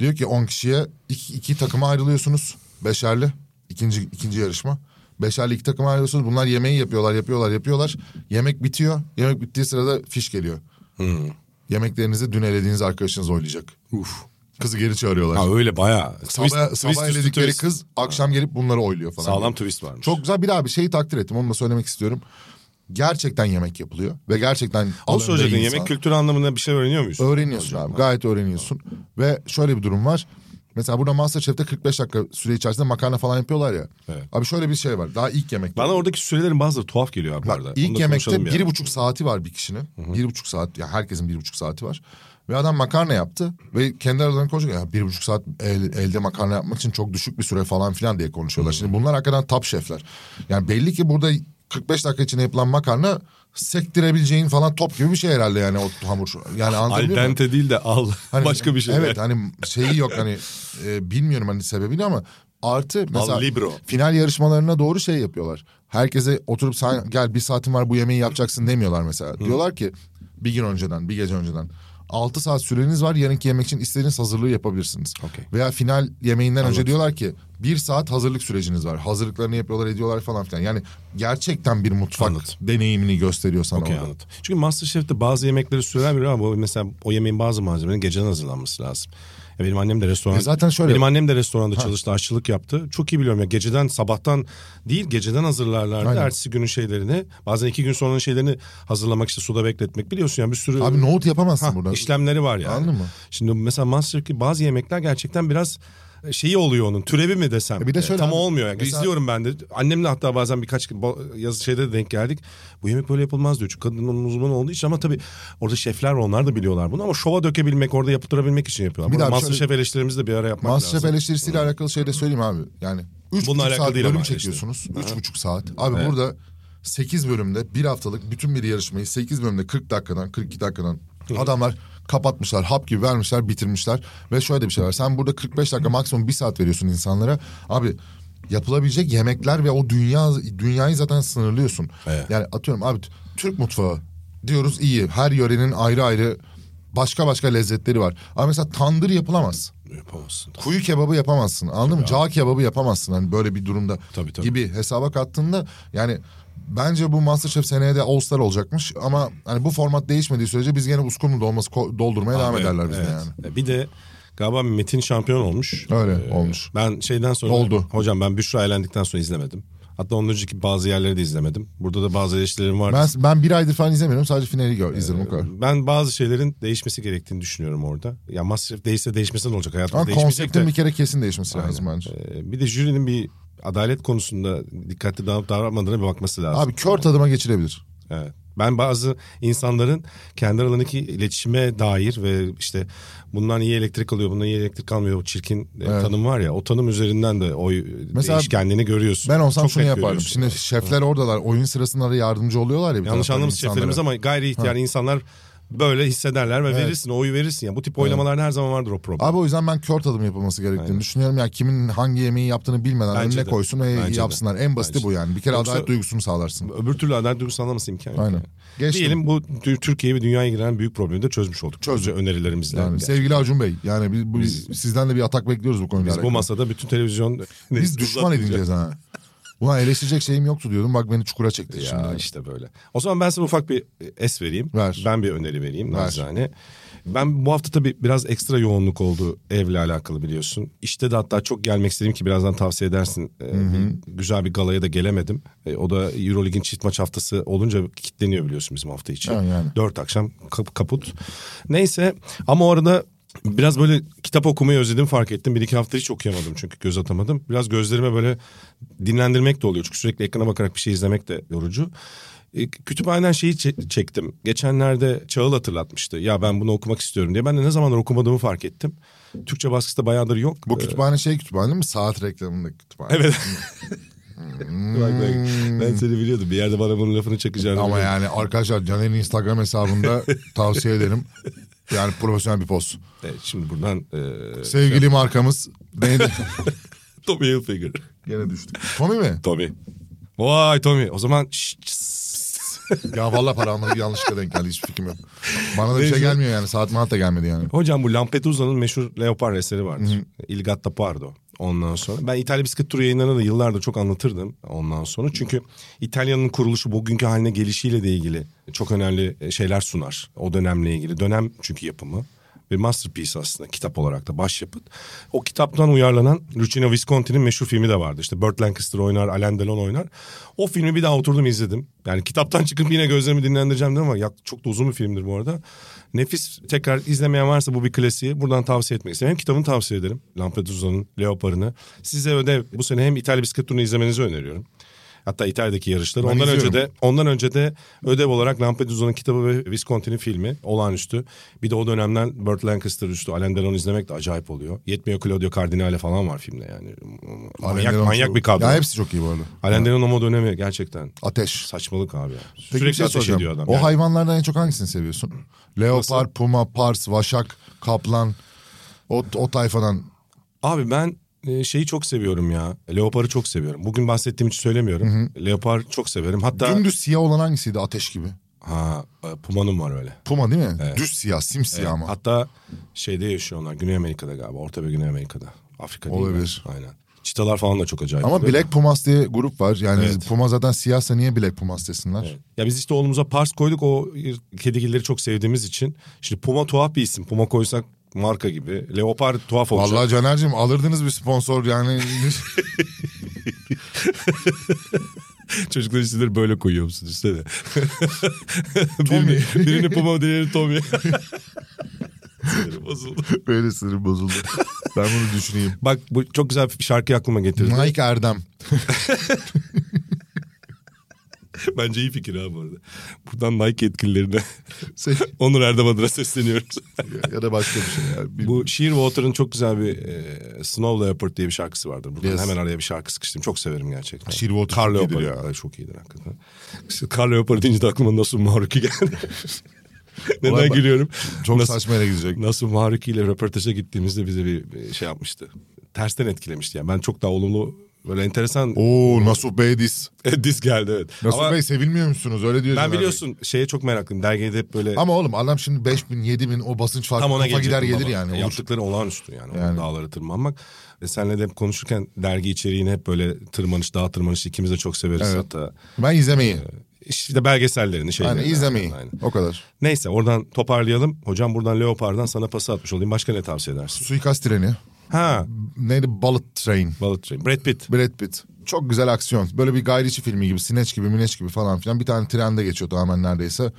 S3: Diyor ki 10 kişiye iki, iki takıma ayrılıyorsunuz. Beşerli. ikinci ikinci yarışma. Beşerli iki takıma ayrılıyorsunuz. Bunlar yemeği yapıyorlar, yapıyorlar, yapıyorlar. Yemek bitiyor. Yemek bittiği sırada fiş geliyor.
S2: Hmm.
S3: Yemeklerinizi dün elediğiniz arkadaşınız oylayacak. Uf. Kızı geri çağırıyorlar.
S2: Ha öyle bayağı.
S3: sabah
S2: Twist-
S3: sabah
S2: twist üstü
S3: eledikleri
S2: twist.
S3: kız akşam gelip bunları oyluyor falan.
S2: Sağlam twist varmış.
S3: Çok güzel bir abi şeyi takdir ettim. Onu da söylemek istiyorum. Gerçekten yemek yapılıyor ve gerçekten
S2: Onu
S3: alanında
S2: söyleyecektin
S3: iyi
S2: yemek
S3: insan-
S2: kültürü anlamında bir şey öğreniyor muyuz?
S3: Öğreniyorsun abi. Gayet öğreniyorsun. Ve şöyle bir durum var. Mesela burada Masterchef'te 45 dakika süre içerisinde makarna falan yapıyorlar ya.
S2: Evet.
S3: Abi şöyle bir şey var. Daha ilk yemekte.
S2: Bana oradaki sürelerin bazıları tuhaf geliyor abi bu
S3: Bak,
S2: arada. Onu
S3: ilk
S2: da
S3: yemekte
S2: konuşalım
S3: bir buçuk saati var bir kişinin. Bir buçuk saat. Ya herkesin bir buçuk saati var. Ve adam makarna yaptı. Ve kendi aralarında konuşuyor. Ya bir buçuk saat el- elde makarna yapmak için çok düşük bir süre falan filan diye konuşuyorlar. Şimdi bunlar hakikaten top şefler. Yani belli ki burada 45 dakika içinde yapılan makarna sektirebileceğin falan top gibi bir şey herhalde yani o hamur. Yani
S2: Al
S3: anlatabiliyor muyum?
S2: dente değil de al.
S3: Hani-
S2: Başka bir şey.
S3: Evet hani şeyi yok hani e, bilmiyorum hani sebebini ama artı mesela
S2: libro.
S3: final yarışmalarına doğru şey yapıyorlar. Herkese oturup sen gel bir saatin var bu yemeği yapacaksın demiyorlar mesela. Diyorlar ki Bir gün önceden, bir gece önceden. 6 saat süreniz var. Yarınki yemek için istediğiniz hazırlığı yapabilirsiniz.
S2: Okey.
S3: Veya final yemeğinden önce
S2: Anladım.
S3: diyorlar ki bir saat hazırlık süreciniz var. Hazırlıklarını yapıyorlar, ediyorlar falan filan. Yani gerçekten bir mutfak
S2: Anladım.
S3: deneyimini gösteriyor sana
S2: Okey
S3: orada.
S2: anladım. Çünkü Masterchef'te bazı yemekleri söyler ama bu mesela o yemeğin bazı malzemelerinin geceden hazırlanması lazım. Ya benim annem de restoran.
S3: E zaten şöyle-
S2: Benim annem de restoranda çalıştı, aşçılık yaptı. Çok iyi biliyorum ya geceden sabahtan değil geceden hazırlarlardı.
S3: Aynen.
S2: Ertesi günün şeylerini bazen iki gün sonranın şeylerini hazırlamak işte suda bekletmek biliyorsun yani bir sürü.
S3: Abi nohut yapamazsın
S2: Ha,
S3: burada.
S2: işlemleri var yani.
S3: Anladın mı?
S2: Şimdi mesela Masterchef'te bazı yemekler gerçekten biraz e, şeyi oluyor onun türevi mi desem.
S3: E bir de
S2: E,
S3: şöyle
S2: Tam
S3: abi,
S2: olmuyor yani.
S3: mesela-
S2: İzliyorum ben de. Annemle hatta bazen birkaç gün bo- yazı şeyde de denk geldik. Bu yemek böyle yapılmaz diyor. Çünkü kadının uzmanı olduğu için ama tabii orada şefler var, onlar da biliyorlar bunu ama şova dökebilmek orada yaptırabilmek için yapıyorlar.
S3: Bir
S2: Bir
S3: daha
S2: daha
S3: bir
S2: Masterchef eleştirimizi de bir ara yapmak
S3: Masterchef
S2: lazım.
S3: eleştirisiyle alakalı şey de söyleyeyim abi. Yani üç
S2: Bununla
S3: buçuk
S2: alakalı
S3: saat
S2: değil
S3: bölüm
S2: ama işte.
S3: çekiyorsunuz. üç buçuk saat. Abi burada 8 bölümde bir haftalık bütün bir yarışmayı 8 bölümde 40 dakikadan 42 dakikadan adamlar kapatmışlar. Hap gibi vermişler bitirmişler. Ve şöyle de bir şey var. Sen burada 45 dakika maksimum bir saat veriyorsun insanlara. Abi yapılabilecek yemekler ve o dünya dünyayı zaten sınırlıyorsun.
S2: Evet.
S3: Yani atıyorum abi Türk mutfağı diyoruz iyi. Her yörenin ayrı ayrı başka başka lezzetleri var. Ama mesela tandır yapılamaz
S2: Yapamazsın.
S3: kuyu kebabı yapamazsın anladın mı? Cağ kebabı yapamazsın hani böyle bir durumda
S2: Tabii, tabii.
S3: gibi hesaba kattığında yani bence bu Masterchef seneye de All Star olacakmış ama hani bu format değişmediği sürece biz gene uskumru dolması ko- doldurmaya devam
S2: Evet,
S3: ederler bizde
S2: evet.
S3: yani.
S2: E, Bir de galiba Metin şampiyon olmuş. E,
S3: Öyle olmuş.
S2: Ben şeyden sonra...
S3: Oldu.
S2: Hocam ben Büşra elendikten sonra izlemedim. Hatta ondan önceki bazı yerleri de izlemedim. Burada da bazı eleştirilerim vardı.
S3: Ben, ben bir aydır falan izlemiyorum sadece finali
S2: Ee,
S3: gör, izlerim o kadar.
S2: Ben bazı şeylerin değişmesi gerektiğini düşünüyorum orada. Ya masraf değişse değişmesi ne olacak? Hayatım
S3: Ama
S2: değişmeyecek
S3: konseptin
S2: de.
S3: bir kere kesin değişmesi lazım bence.
S2: Ee, Bir de jürinin bir adalet konusunda dikkatli davranıp davranmadığına bir bakması lazım.
S3: Abi kör tadıma geçirebilir.
S2: Evet. Ben bazı insanların kendi aralarındaki iletişime dair ve işte bundan iyi elektrik alıyor, bundan iyi elektrik almıyor o çirkin e, tanım var ya. O tanım üzerinden de oy e,
S3: Mesela
S2: değişkenliğini görüyorsun.
S3: Ben olsam
S2: Çok
S3: şunu
S2: net
S3: yapardım.
S2: görüyorsun.
S3: Şimdi şefler oradalar oyun sırasında da yardımcı oluyorlar ya. bir
S2: Yanlış
S3: taraftan
S2: anlamış
S3: insanlara.
S2: şeflerimiz ama gayri ihtiyar insanlar böyle hissederler ve verirsin, oyu verirsin. ya Bu tip oylamalarda her zaman vardır o problem.
S3: Abi o yüzden ben kör tadım yapılması gerektiğini düşünüyorum. Yani kimin hangi yemeği yaptığını bilmeden
S2: Bence
S3: önüne
S2: de.
S3: koysun ve
S2: Bence de.
S3: yapsınlar. En basiti
S2: Bence
S3: bu yani. Bir kere
S2: Yoksa-
S3: adalet duygusunu sağlarsın.
S2: Öbür türlü adalet duygusu anlaması imkan yok.
S3: Aynen.
S2: yani.
S3: Geçtim.
S2: Diyelim bu tü- Türkiye ve dünyaya giren büyük problemi de çözdük olduk. Çözü önerilerimizle.
S3: Yani
S2: Yani
S3: sevgili Acun Bey yani biz, bu- sizden de bir atak bekliyoruz bu konuda.
S2: Biz bu masada bütün televizyon...
S3: biz düşman edineceğiz ha. Ulan eleştirecek şeyim yoktu diyordum. Bak beni çukura çekti
S2: Ya
S3: şimdi.
S2: işte böyle. O zaman ben sana ufak bir e, es vereyim.
S3: Ver.
S2: Ben bir öneri vereyim
S3: Ver.
S2: nacizane. Ben bu hafta tabii biraz ekstra yoğunluk oldu evle alakalı biliyorsun. İşte de hatta çok gelmek istedim ki birazdan tavsiye edersin. Ee, bir- güzel bir galaya da gelemedim. Ee, o da Eurolig'in çift maç haftası olunca kitleniyor biliyorsun bizim hafta için.
S3: Ha, yani.
S2: Dört akşam kap- kaput. Neyse ama o arada biraz böyle kitap okumayı özledim fark ettim. Bir iki hafta hiç okuyamadım çünkü göz atamadım. Biraz gözlerime böyle dinlendirmek de oluyor. Çünkü sürekli ekrana bakarak bir şey izlemek de yorucu. E, Kütüphaneden şeyi çe- çektim. Geçenlerde Çağıl hatırlatmıştı. Ya ben bunu okumak istiyorum diye. Ben de ne zamandır okumadığımı fark ettim. Türkçe baskısı da bayağıdır yok.
S3: Bu
S2: Ee,
S3: kütüphane şey kütüphane değil mi? Saat reklamındaki kütüphane.
S2: Evet. Bak, bak. Hmm. Ben seni biliyordum. Bir yerde bana bunun lafını çakacağını
S3: Ama
S2: biliyordum.
S3: yani arkadaşlar Caner'in Instagram hesabında tavsiye ederim. Yani profesyonel bir post.
S2: Evet, şimdi buradan e,
S3: Sevgili markamız neydi?
S2: Tommy Hilfiger.
S3: Gene düştük. Tommy mi?
S2: Tommy. Vay Tommy. O zaman şşş, şşş.
S3: Ya valla para almadı bir yanlışlıkla denk geldi hiçbir fikrim yok. Bana da bir şey
S2: Neyse.
S3: gelmiyor yani saat maat da gelmedi yani.
S2: Hocam bu Lampedusa'nın meşhur Leopar eseri vardır. Il Gatta Pardo. Ondan sonra ben İtalya Bisiklet Turu yayınlarına da yıllardır çok anlatırdım ondan sonra. Çünkü İtalya'nın kuruluşu bugünkü haline gelişiyle de ilgili çok önemli e, şeyler sunar. O dönemle ilgili dönem çünkü yapımı. Bir masterpiece aslında kitap olarak da başyapıt. O kitaptan uyarlanan Luciano Visconti'nin meşhur filmi de vardı. İşte Burt Lancaster oynar, Alain Delon oynar. O filmi bir daha oturdum izledim. Yani kitaptan çıkıp yine gözlerimi dinlendireceğim dedim ama ya, çok da uzun bir filmdir bu arada. Nefis tekrar izlemeyen varsa bu bir klasiği buradan tavsiye etmek isterim. Hem kitabını tavsiye ederim. Lampedusa'nın Leopar'ını. Size ödev bu sene hem İtalya bisiklet turunu izlemenizi öneriyorum. Hatta İtalya'daki yarışları.
S3: Ben
S2: ondan
S3: izliyorum.
S2: önce de ondan önce de ödev olarak Lampedusa'nın kitabı ve Visconti'nin filmi olağanüstü. Bir de o dönemden Burt Lancaster üstü Alain Delon izlemek de acayip oluyor. Yetmiyor Claudio Cardinale falan var filmde yani. Manyak,
S3: Alenderon
S2: manyak
S3: çok-
S2: bir kadro.
S3: Ya hepsi çok iyi bu arada.
S2: Alain Delon'un o dönemi gerçekten
S3: Ateş.
S2: saçmalık abi. ya.
S3: Peki
S2: Sürekli
S3: bir şey
S2: ateş
S3: soracağım.
S2: ediyor adam.
S3: O
S2: yani.
S3: hayvanlardan en çok hangisini seviyorsun? Leopar,
S2: Nasıl?
S3: puma, pars, vaşak, kaplan. O, o tayfadan.
S2: Abi ben e, şeyi çok seviyorum ya. Leopar'ı çok seviyorum. Bugün bahsettiğim için söylemiyorum. Leopar çok severim. Hatta
S3: Dümdüz siyah olan hangisiydi ateş gibi?
S2: Ha, e, Puma'nın var öyle.
S3: Puma değil mi? Düz siyah, simsiyah ama.
S2: Hatta şeyde yaşıyor onlar. Güney Amerika'da galiba. Orta ve Güney Amerika'da. Afrika değil
S3: Olabilir.
S2: mi? Aynen. Çitalar falan da çok acayip.
S3: Ama
S2: oluyor.
S3: Black Pumas diye grup var. Yani
S2: Evet.
S3: Puma zaten siyahsa niye Black Pumas desinler?
S2: Evet. Ya biz işte oğlumuza Pars koyduk. O kedigilleri çok sevdiğimiz için. Şimdi Puma tuhaf bir isim. Puma koysak marka gibi. Leopar tuhaf olacak.
S3: Vallahi Caner'cim alırdınız bir sponsor yani.
S2: Çocuklar isimleri böyle koyuyor musun üstüne de?
S3: Tommy.
S2: birini, birini Puma diğerini Tommy. Sinirim bozuldu.
S3: Böyle sinirim bozuldu. ben bunu düşüneyim.
S2: Bak bu çok güzel bir şarkı aklıma getirdi.
S3: Mike Erdem.
S2: Bence iyi fikir ha bu arada. Buradan Nike yetkililerine
S3: Şey,
S2: Onur Erdem adına sesleniyoruz.
S3: ya da başka bir şey. Yani. Bir-
S2: bu Shearwater'ın çok diye bir e, Snow Leopard diye bir şarkısı vardır. Buradan
S3: Yes.
S2: hemen araya bir şarkı sıkıştırdım. Çok severim gerçekten.
S3: Shearwater
S2: Karl
S3: çok
S2: Leopard.
S3: iyidir
S2: Ya. Çok iyidir hakikaten. İşte Karl Leopard deyince de aklıma nasıl Maruki geldi. Neden
S3: Ulan ben-
S2: gülüyorum?
S3: Çok
S2: Nasıl-
S3: saçma yere gidecek.
S2: Nasıl Maruki ile röportaja gittiğimizde bize bir bir şey yapmıştı. Tersten etkilemişti yani. Ben çok daha olumlu böyle enteresan
S3: Oo Nasuh Bey diz.
S2: dis geldi evet.
S3: Nasuh
S2: Ama
S3: Bey sevilmiyor musunuz? Öyle
S2: ben
S3: diyor. Caner Bey.
S2: biliyorsun şeye çok meraklıyım. Dergide hep böyle
S3: Ama oğlum adam şimdi 5000 bin yedi bin o basınç farkı
S2: Tam ona
S3: kafa gider
S2: gelecektim
S3: gelir
S2: baba.
S3: yani. Olur.
S2: Yaptıkları olağanüstü yani,
S3: Yani.
S2: O dağlara tırmanmak. E senle de hep konuşurken dergi içeriğini hep böyle tırmanış, dağ tırmanışı ikimiz de çok severiz
S3: Evet.
S2: hatta.
S3: Ben izlemeyi.
S2: İşte belgesellerini şeylerini.
S3: Yani izlemeyi.
S2: Aynen.
S3: O kadar.
S2: Neyse oradan toparlayalım. Hocam buradan Leopard'dan sana pası atmış olayım. Başka ne tavsiye edersin?
S3: Suikast treni.
S2: Ha
S3: Neydi? Bullet Train.
S2: Bullet Train. Brad Pitt.
S3: Brad Pitt. Çok güzel aksiyon. Böyle bir Guy Ritchie filmi gibi, Sineç gibi, Mineç gibi falan filan. Bir tane trende geçiyor tamamen neredeyse.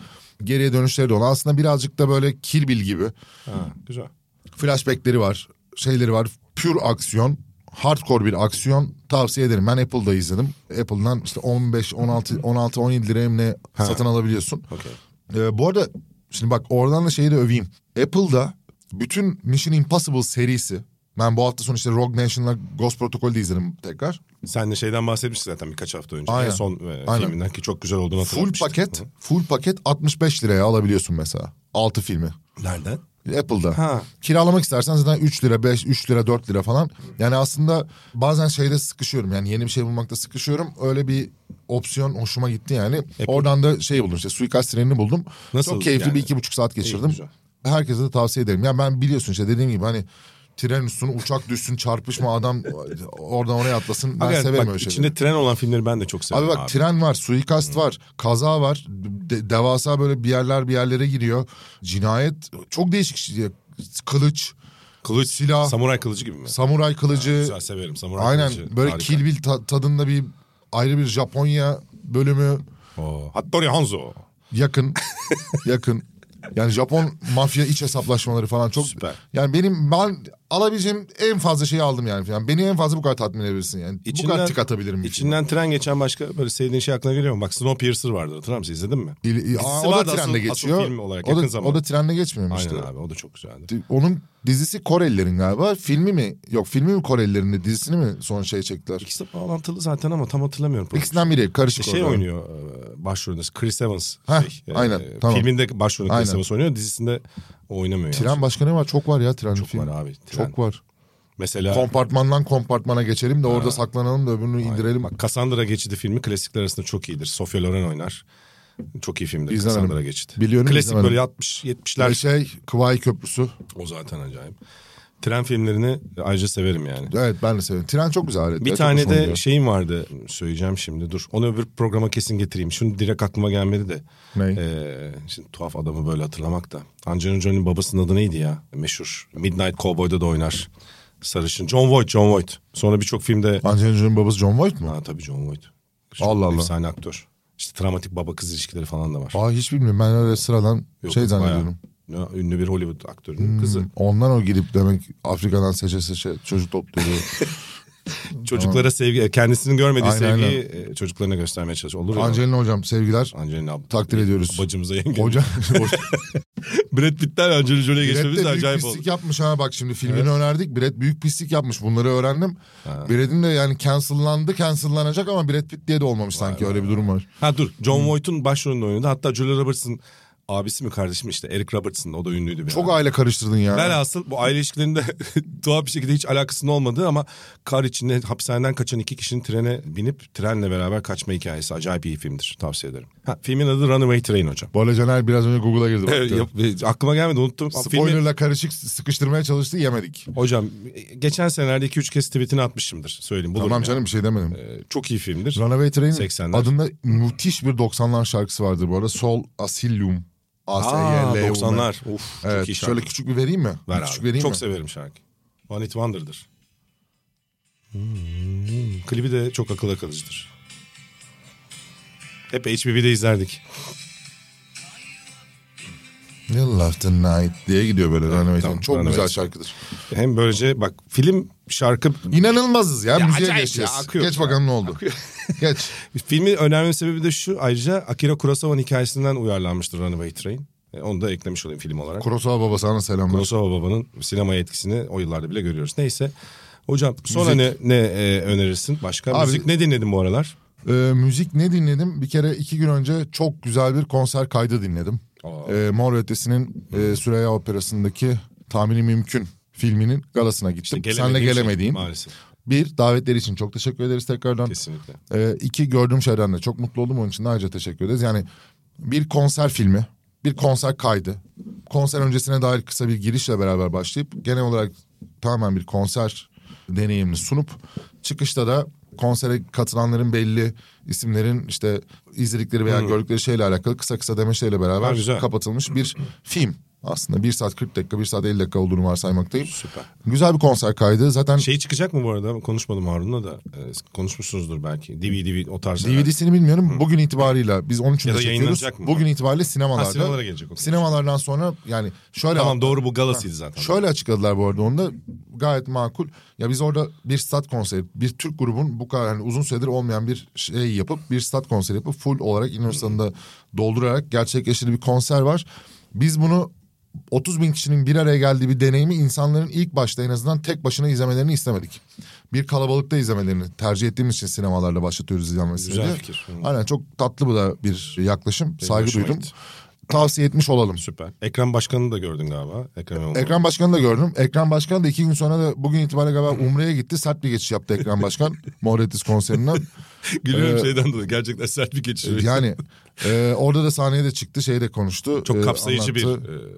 S3: Geriye dönüşleri de olan. Aslında birazcık da böyle Kill Bill gibi.
S2: Ha, güzel.
S3: Flashbackleri var, şeyleri var. Pure aksiyon, hardcore bir aksiyon tavsiye ederim. Ben Apple'da izledim. Apple'dan işte 15, 16, 16, 17 liraya mı ne satın alabiliyorsun.
S2: Okey.
S3: Ee, bu arada şimdi bak oradan da şeyi de öveyim. Apple'da bütün Mission Impossible serisi ben bu hafta sonu işte Rogue Nation'la Ghost Protocol'de izledim tekrar.
S2: Sen de şeyden bahsetmiştin zaten birkaç hafta önce.
S3: Aynen.
S2: En son e,
S3: Aynen.
S2: filminden ki çok güzel olduğunu
S3: Full
S2: hatırlamıştım.
S3: paket, full paket 65 liraya alabiliyorsun mesela. 6 filmi.
S2: Nereden?
S3: Apple'da.
S2: Ha.
S3: Kiralamak istersen zaten 3 lira, 5, 3 lira, 4 lira falan. Yani aslında bazen şeyde sıkışıyorum. Yani yeni bir şey bulmakta sıkışıyorum. Öyle bir opsiyon hoşuma gitti yani. Oradan da şey buldum işte suikast trenini buldum.
S2: E, Nasıl
S3: Çok keyifli
S2: yani?
S3: bir iki buçuk saat geçirdim.
S2: güzel.
S3: Herkese de tavsiye ederim. Yani ben biliyorsun işte dediğim gibi hani tren üstüne uçak düşsün çarpışma adam oradan oraya atlasın. Ben
S2: Aga,
S3: severim
S2: bak,
S3: öyle şeyleri.
S2: içinde tren olan filmleri ben de çok
S3: Abi
S2: seviyorum
S3: bak
S2: abi.
S3: tren var, suikast var, kaza var. de- devasa böyle bir yerler bir yerlere giriyor. Cinayet çok değişik şey. Kılıç,
S2: Kılıç,
S3: silah,
S2: Samuray kılıcı gibi mi?
S3: samuray kılıcı.
S2: Güzel severim. Samuray
S3: Ee, aynen
S2: kılıcı.
S3: böyle
S2: harika.
S3: Kill Bill ta- tadında bir ayrı bir Japonya bölümü
S2: Oo. Hattori Hanzo.
S3: yakın. yakın. Yani Japon mafya iç hesaplaşmaları falan çok
S2: Süper.
S3: Yani benim ben alabileceğim en fazla şeyi aldım yani. yani beni en fazla bu kadar tatmin edebilirsin yani. bu kadar tık atabilirim. bir filme.
S2: İçinden tren geçen başka böyle sevdiğin şey aklına geliyor mu? Bak Snowpiercer vardı hatırlar mısın? İzledin mi?
S3: İl- Aa,
S2: Dizisi
S3: o da
S2: vardı
S3: trende
S2: asıl- asıl
S3: geçiyor.
S2: film olarak
S3: o da
S2: yakın zamanda.
S3: o da trende geçmiyor mu
S2: Aynen
S3: işte.
S2: abi o da çok güzeldi.
S3: Di- Onun dizisi Korelilerin galiba. Filmi mi? Yok filmi mi Korelilerin de, dizisini mi son şey çektiler?
S2: İkisi de bağlantılı zaten ama tam hatırlamıyorum.
S3: İkisinden biri karışık
S2: şey
S3: orada.
S2: oynuyor e, başrolünde Chris Evans.
S3: Heh,
S2: şey, e,
S3: aynen, tamam.
S2: Filminde başrolünde Chris
S3: Aynen.
S2: Evans oynuyor dizisinde o oynamıyor.
S3: Tren başka ne var? Çok var ya tren
S2: Çok
S3: film.
S2: var abi, tren.
S3: Çok var.
S2: Mesela
S3: Kompartmandan kompartmana geçelim de orada saklanalım da öbürünü indirelim.
S2: bak Cassandra Geçidi filmi klasikler arasında çok iyidir. Sofia Loren oynar. Çok iyi filmdir
S3: İzlemedim.
S2: Cassandra Geçidi.
S3: Biliyorum,
S2: Klasik
S3: izlemedim.
S2: böyle 60 70'ler
S3: Bir şey Kıvay Köprüsü.
S2: O zaten acayip. Tren filmlerini ayrıca severim yani.
S3: Evet ben de seviyorum. Tren çok güzel. alet.
S2: Bir
S3: Çok
S2: tane
S3: hoşuma
S2: de
S3: gidiyor.
S2: şeyim vardı söyleyeceğim şimdi dur. Onu öbür programa kesin getireyim. Şunu direkt aklıma gelmedi de.
S3: Ney?
S2: Ee, şimdi tuhaf adamı böyle hatırlamak da. Angelina Jolie'nin babasının adı neydi ya? Meşhur. Midnight Cowboy'da da oynar. Sarışın. John Voight, John Voight. Sonra birçok filmde...
S3: Angelina Jolie'nin babası John Voight mu?
S2: Ha tabii John Voight.
S3: Allah Allah.
S2: Efsane aktör. İşte travmatik baba kız ilişkileri falan da var.
S3: Aa hiç bilmiyorum. Ben öyle sıradan
S2: Yok,
S3: şey
S2: bayağı.
S3: zannediyorum.
S2: Ya, Ünlü bir Hollywood aktörünün
S3: Hmm,
S2: kızı.
S3: Ondan o gidip demek Afrika'dan seçe seçe çocuk topluyor.
S2: Çocuklara sevgi, kendisinin görmediği
S3: Aynen,
S2: sevgiyi e, çocuklarına göstermeye çalışıyor. Olur ya.
S3: Angelina hocam sevgiler.
S2: Angelina abla.
S3: Takdir ediyoruz.
S2: Bacımıza yenge.
S3: Hocam
S2: Brad Pitt'ten Angelina Jolie'ye
S3: Brad de
S2: geçmemiz
S3: büyük
S2: acayip oldu.
S3: pislik yapmış ha bak şimdi filmini önerdik. Brad büyük pislik yapmış bunları öğrendim. Brad'in de yani cancellandı cancellanacak ama Brad Pitt diye de olmamış sanki öyle bir durum var.
S2: Ha dur John Voight'un başrolünde oynadı. Hatta Julia Roberts'ın abisi mi kardeşim işte Eric Robertson o da ünlüydü. bir
S3: Çok
S2: ara.
S3: aile karıştırdın ya.
S2: Velhasıl bu aile ilişkilerinde tuhaf bir şekilde hiç alakasının olmadığı ama kar içinde hapishaneden kaçan iki kişinin trene binip trenle beraber kaçma hikayesi. Acayip iyi filmdir. Tavsiye ederim. Ha, filmin adı Runaway Train hocam.
S3: Bu arada Caner biraz önce Google'a girdi.
S2: Evet,
S3: baktı.
S2: yap- e, aklıma gelmedi unuttum. Filmi-
S3: Spoiler'la karışık sıkıştırmaya çalıştı yemedik.
S2: Hocam e, geçen senelerde 2-3 kez tweetini atmışımdır. Söyleyeyim. Bulurum
S3: tamam
S2: yani.
S3: canım bir şey demedim.
S2: E, Çok iyi filmdir.
S3: Runaway Train'in
S2: 80'ler.
S3: adında müthiş bir 90'lar şarkısı vardır bu arada. Sol Asylum. a s
S2: Aa,
S3: y l E.
S2: 90'lar. Uf, çok iyi
S3: Evet,
S2: şarkı.
S3: şöyle küçük bir vereyim mi?
S2: Ver
S3: küçük
S2: abi.
S3: vereyim
S2: Çok
S3: mi?
S2: severim şarkı. One It Wonder'dır. Hmm, Klibi de çok akıl akılcıdır. Hep HBB'de izlerdik.
S3: You love the night diye gidiyor böyle Runaway
S2: tamam,
S3: Train. Çok
S2: Runaway
S3: güzel
S2: Train.
S3: şarkıdır.
S2: Hem böylece bak film şarkı
S3: İnanılmazız ya,
S2: Ya
S3: müziğe
S2: acayip ya,
S3: geçeceğiz.
S2: akıyor.
S3: Geç bakalım ne oldu. Geç.
S2: filmi önermemin sebebi de şu ayrıca Akira Kurosawa'nın hikayesinden uyarlanmıştır Runaway Train. E, Onu da eklemiş olayım film olarak.
S3: Kurosawa baba sana selamlar.
S2: Kurosawa babanın sinemaya etkisini o yıllarda bile görüyoruz. Neyse hocam sonra ne,
S3: Müzik.
S2: ne e, önerirsin başka?
S3: Abi-
S2: müzik ne dinledin bu aralar?
S3: Ee, müzik ne dinledim? Bir kere iki gün önce çok güzel bir konser kaydı dinledim. Ee, Mor ve Ötesi'nin e, Süreyya Operası'ndaki Tahmini Mümkün filminin galasına gittim. Sen de
S2: Gelemediğim şey
S3: gelemediğin.
S2: Maalesef
S3: bir, davetleri için çok teşekkür ederiz tekrardan.
S2: kesinlikle.
S3: Ee, iki gördüğüm şeyden de çok mutlu oldum. Onun için de ayrıca teşekkür ederiz. Yani bir konser filmi, bir konser kaydı. Konser öncesine dair kısa bir girişle beraber başlayıp genel olarak tamamen bir konser deneyimini sunup çıkışta da konsere katılanların belli isimlerin işte izledikleri veya gördükleri şeyle alakalı kısa kısa demeçleriyle beraber
S2: Ha, güzel.
S3: kapatılmış bir film. Aslında 1 saat 40 dakika, 1 saat 50 dakika olduğunu varsaymaktayım.
S2: Süper.
S3: Güzel bir konser kaydı. Zaten
S2: Şey çıkacak mı bu arada? Konuşmadım Harun'la da. Ee, konuşmuşsunuzdur belki. DVD, o tarz. şeyler.
S3: DVD'sini bilmiyorum. Bugün itibarıyla biz 13'ünde
S2: Ya da
S3: çekiyoruz.
S2: yayınlanacak mı?
S3: Bugün itibariyle
S2: Ha,
S3: sinemalarda.
S2: sinemalara gelecek. okey.
S3: Sinemalardan sonra yani şöyle
S2: Tamam doğru bu galasıydı zaten.
S3: şöyle açıkladılar bu arada onu da gayet makul. Ya biz orada bir stat konseri, bir Türk grubun bu kadar hani uzun süredir olmayan bir şey yapıp bir stat konseri yapıp full olarak İnönü'nde doldurarak gerçekleştirdiği bir konser var. Biz bunu 30 bin kişinin bir araya geldiği bir deneyimi insanların ilk başta en azından tek başına izlemelerini istemedik. Bir kalabalıkta izlemelerini tercih ettiğimiz için sinemalarla başlatıyoruz izlenmesini.
S2: Güzel
S3: diye.
S2: fikir.
S3: Aynen çok tatlı bu da bir yaklaşım. Saygı
S2: hoşuma
S3: duydum.
S2: gitti.
S3: Tavsiye etmiş olalım.
S2: Süper. Ekrem Başkan'ı da gördün galiba. Ekrem İmamoğlu.
S3: Ekrem Başkan'ı da gördüm. Ekrem Başkan da iki gün sonra da bugün itibariyle galiba Umre'ye gitti. Sert bir geçiş yaptı Ekrem Başkan. Moretis konserinden.
S2: Gülüyorum
S3: Ee,
S2: şeyden dolayı. Gerçekten sert bir geçiş.
S3: Yani e, orada da sahneye de çıktı. Şey de konuştu. e,
S2: Çok kapsayıcı bir
S3: anlattı.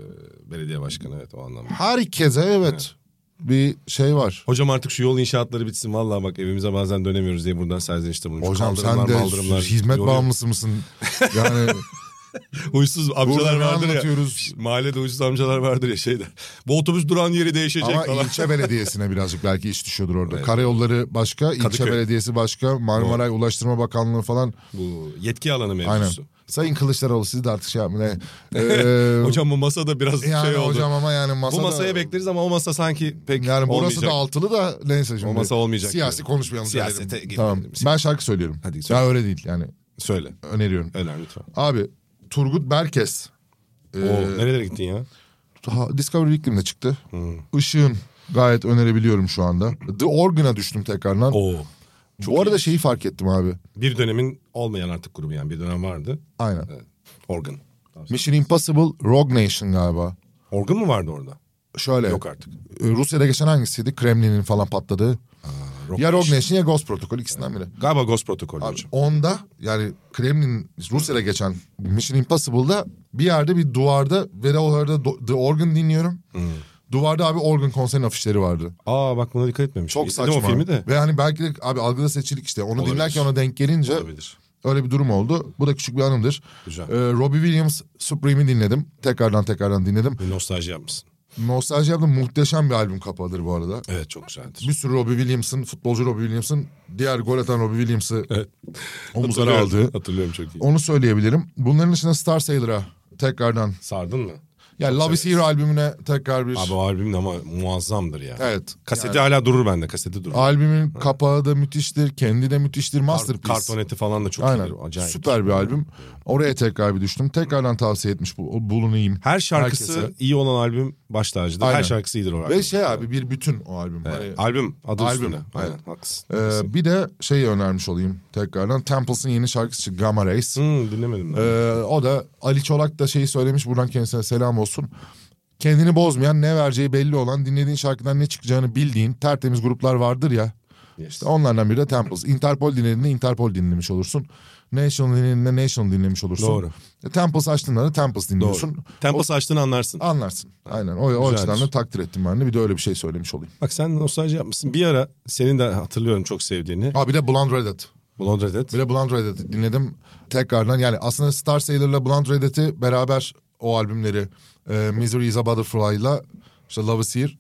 S2: e, belediye başkanı evet o anlamda.
S3: Herkese evet bir şey var.
S2: Hocam artık şu yol inşaatları bitsin. Vallahi bak evimize bazen dönemiyoruz diye buradan serzenişte bulunmuş.
S3: Hocam sen de hizmet bağımlısı mısın? Yani
S2: Huysuz amcalar
S3: burada ne
S2: vardır ya.
S3: anlatıyoruz?
S2: Mahallede huysuz amcalar vardır ya şeyde. Bu otobüs duran yeri değişecek
S3: Ama
S2: falan.
S3: ilçe belediyesine birazcık belki iş düşüyordur orada. Karayolları başka, ilçe
S2: Kadıköy.
S3: belediyesi başka, Marmaray Ulaştırma Bakanlığı falan.
S2: Bu yetki alanı
S3: Aynen.
S2: mevzusu.
S3: Sayın Kılıçdaroğlu siz de artık şey yapmayın. Ee,
S2: Hocam bu masada biraz
S3: Yani
S2: şey oldu.
S3: hocam ama yani masada...
S2: Bu masaya bekleriz ama o masa sanki pek
S3: Yani burası
S2: olmayacak.
S3: da altılı da neyse şimdi.
S2: O masa olmayacak
S3: Siyasi
S2: diyorum.
S3: konuşmayalım.
S2: Siyasete
S3: diyelim.
S2: girmeyelim.
S3: Tamam. Ben şarkı söylüyorum.
S2: Hadi söyle.
S3: ya öyle değil yani
S2: Söyle.
S3: öneriyorum.
S2: Öner lütfen.
S3: Abi Turgut Berkes Ee,
S2: Oo, nerelere gittin ya?
S3: ha, Discovery Weekly'de çıktı.
S2: Hmm.
S3: Işığın gayet önerebiliyorum şu anda. The Organ'a düştüm tekrardan.
S2: Oo.
S3: Bu arada şeyi fark ettim abi.
S2: Bir dönemin olmayan artık grubu yani bir dönem vardı.
S3: Aynen.
S2: Organ.
S3: Mission Impossible Rogue Nation galiba.
S2: Organ mı vardı orada?
S3: Şöyle.
S2: Yok artık.
S3: e, Rusya'da geçen hangisiydi? Kremlin'in falan patladığı.
S2: Rock
S3: ya Rogue
S2: Nation.
S3: Nation ya Ghost Protocol ikisinden biri.
S2: Galiba Ghost Protocol
S3: Abi,
S2: hocam.
S3: onda yani Kremlin Rusya'da geçen Mission Impossible'da bir yerde bir duvarda ve de o arada Do- The Organ dinliyorum.
S2: Hmm.
S3: Duvarda abi Organ konserin afişleri vardı.
S2: Aa bak buna dikkat etmemiş.
S3: Çok
S2: İzledim
S3: saçma.
S2: o filmi de.
S3: Ve hani belki de abi algıda seçilik işte. Onu
S2: Olabilir.
S3: dinlerken ona denk gelince
S2: Olabilir.
S3: öyle bir durum oldu. Bu da küçük bir anımdır.
S2: Güzel.
S3: Ee, Robbie Williams Supreme'i dinledim. Tekrardan tekrardan dinledim.
S2: Bir nostalji yapmışsın.
S3: Nostalji yaptım. Muhteşem bir albüm kapağıdır bu arada.
S2: Evet çok güzeldir.
S3: Bir sürü Robbie Williams'ın, futbolcu Robbie Williams'ın, diğer gol atan Robbie Williams'ı
S2: Evet.
S3: omuzlara aldığı.
S2: Hatırlıyorum çok iyi.
S3: Onu söyleyebilirim. Bunların dışında Star Sailor'a tekrardan.
S2: Sardın mı?
S3: Yani Love Is Here albümüne tekrar bir...
S2: Abi o albüm de ama muazzamdır ya.
S3: Evet.
S2: Kaseti
S3: Yani
S2: hala durur bende kaseti durur.
S3: albümün kapağı da müthiştir. Kendi de müthiştir. Masterpiece.
S2: Kartoneti falan da çok
S3: Aynen.
S2: iyidir, Acayip.
S3: Süper bir albüm. Oraya tekrar bir düştüm. Tekrardan tavsiye etmiş bu, bulunayım.
S2: Her şarkısı
S3: Herkese.
S2: iyi olan albüm baş tacıdır.
S3: Aynen.
S2: Her şarkısı iyidir o albüm.
S3: Ve şey abi bir bütün o albüm. Hani,
S2: Albüm adı
S3: Albüm,
S2: üstünde. Aynen
S3: evet.
S2: haklısın.
S3: Ee, bir de şey önermiş olayım tekrardan. Temples'ın yeni şarkısı çıktı, Gamma Rays.
S2: Hmm, dinlemedim ben.
S3: Ee, o da Ali Çolak da şeyi söylemiş buradan kendisine selam olsun. Kendini bozmayan ne vereceği belli olan dinlediğin şarkıdan ne çıkacağını bildiğin tertemiz gruplar vardır ya.
S2: Yes.
S3: Onlardan biri de Temples. Interpol dinlediğinde Interpol dinlemiş olursun. National dinlediğinde National dinlemiş olursun.
S2: Doğru.
S3: E, Temples açtığında da Temples dinliyorsun.
S2: Tempos açtığını anlarsın.
S3: Anlarsın. Aynen. O, o
S2: Güzelmiş.
S3: açıdan da takdir ettim ben de. Bir de öyle bir şey söylemiş olayım.
S2: Bak sen nostalji yapmışsın. Bir ara senin de hatırlıyorum çok sevdiğini.
S3: Aa bir de Blonde Reddit.
S2: Blonde Red Hat.
S3: Bir de Blonde Reddit'i dinledim tekrardan. Yani aslında Star Sailor'la Blonde Reddit'i beraber o albümleri e, Misery is a Butterfly'la işte Love is Here.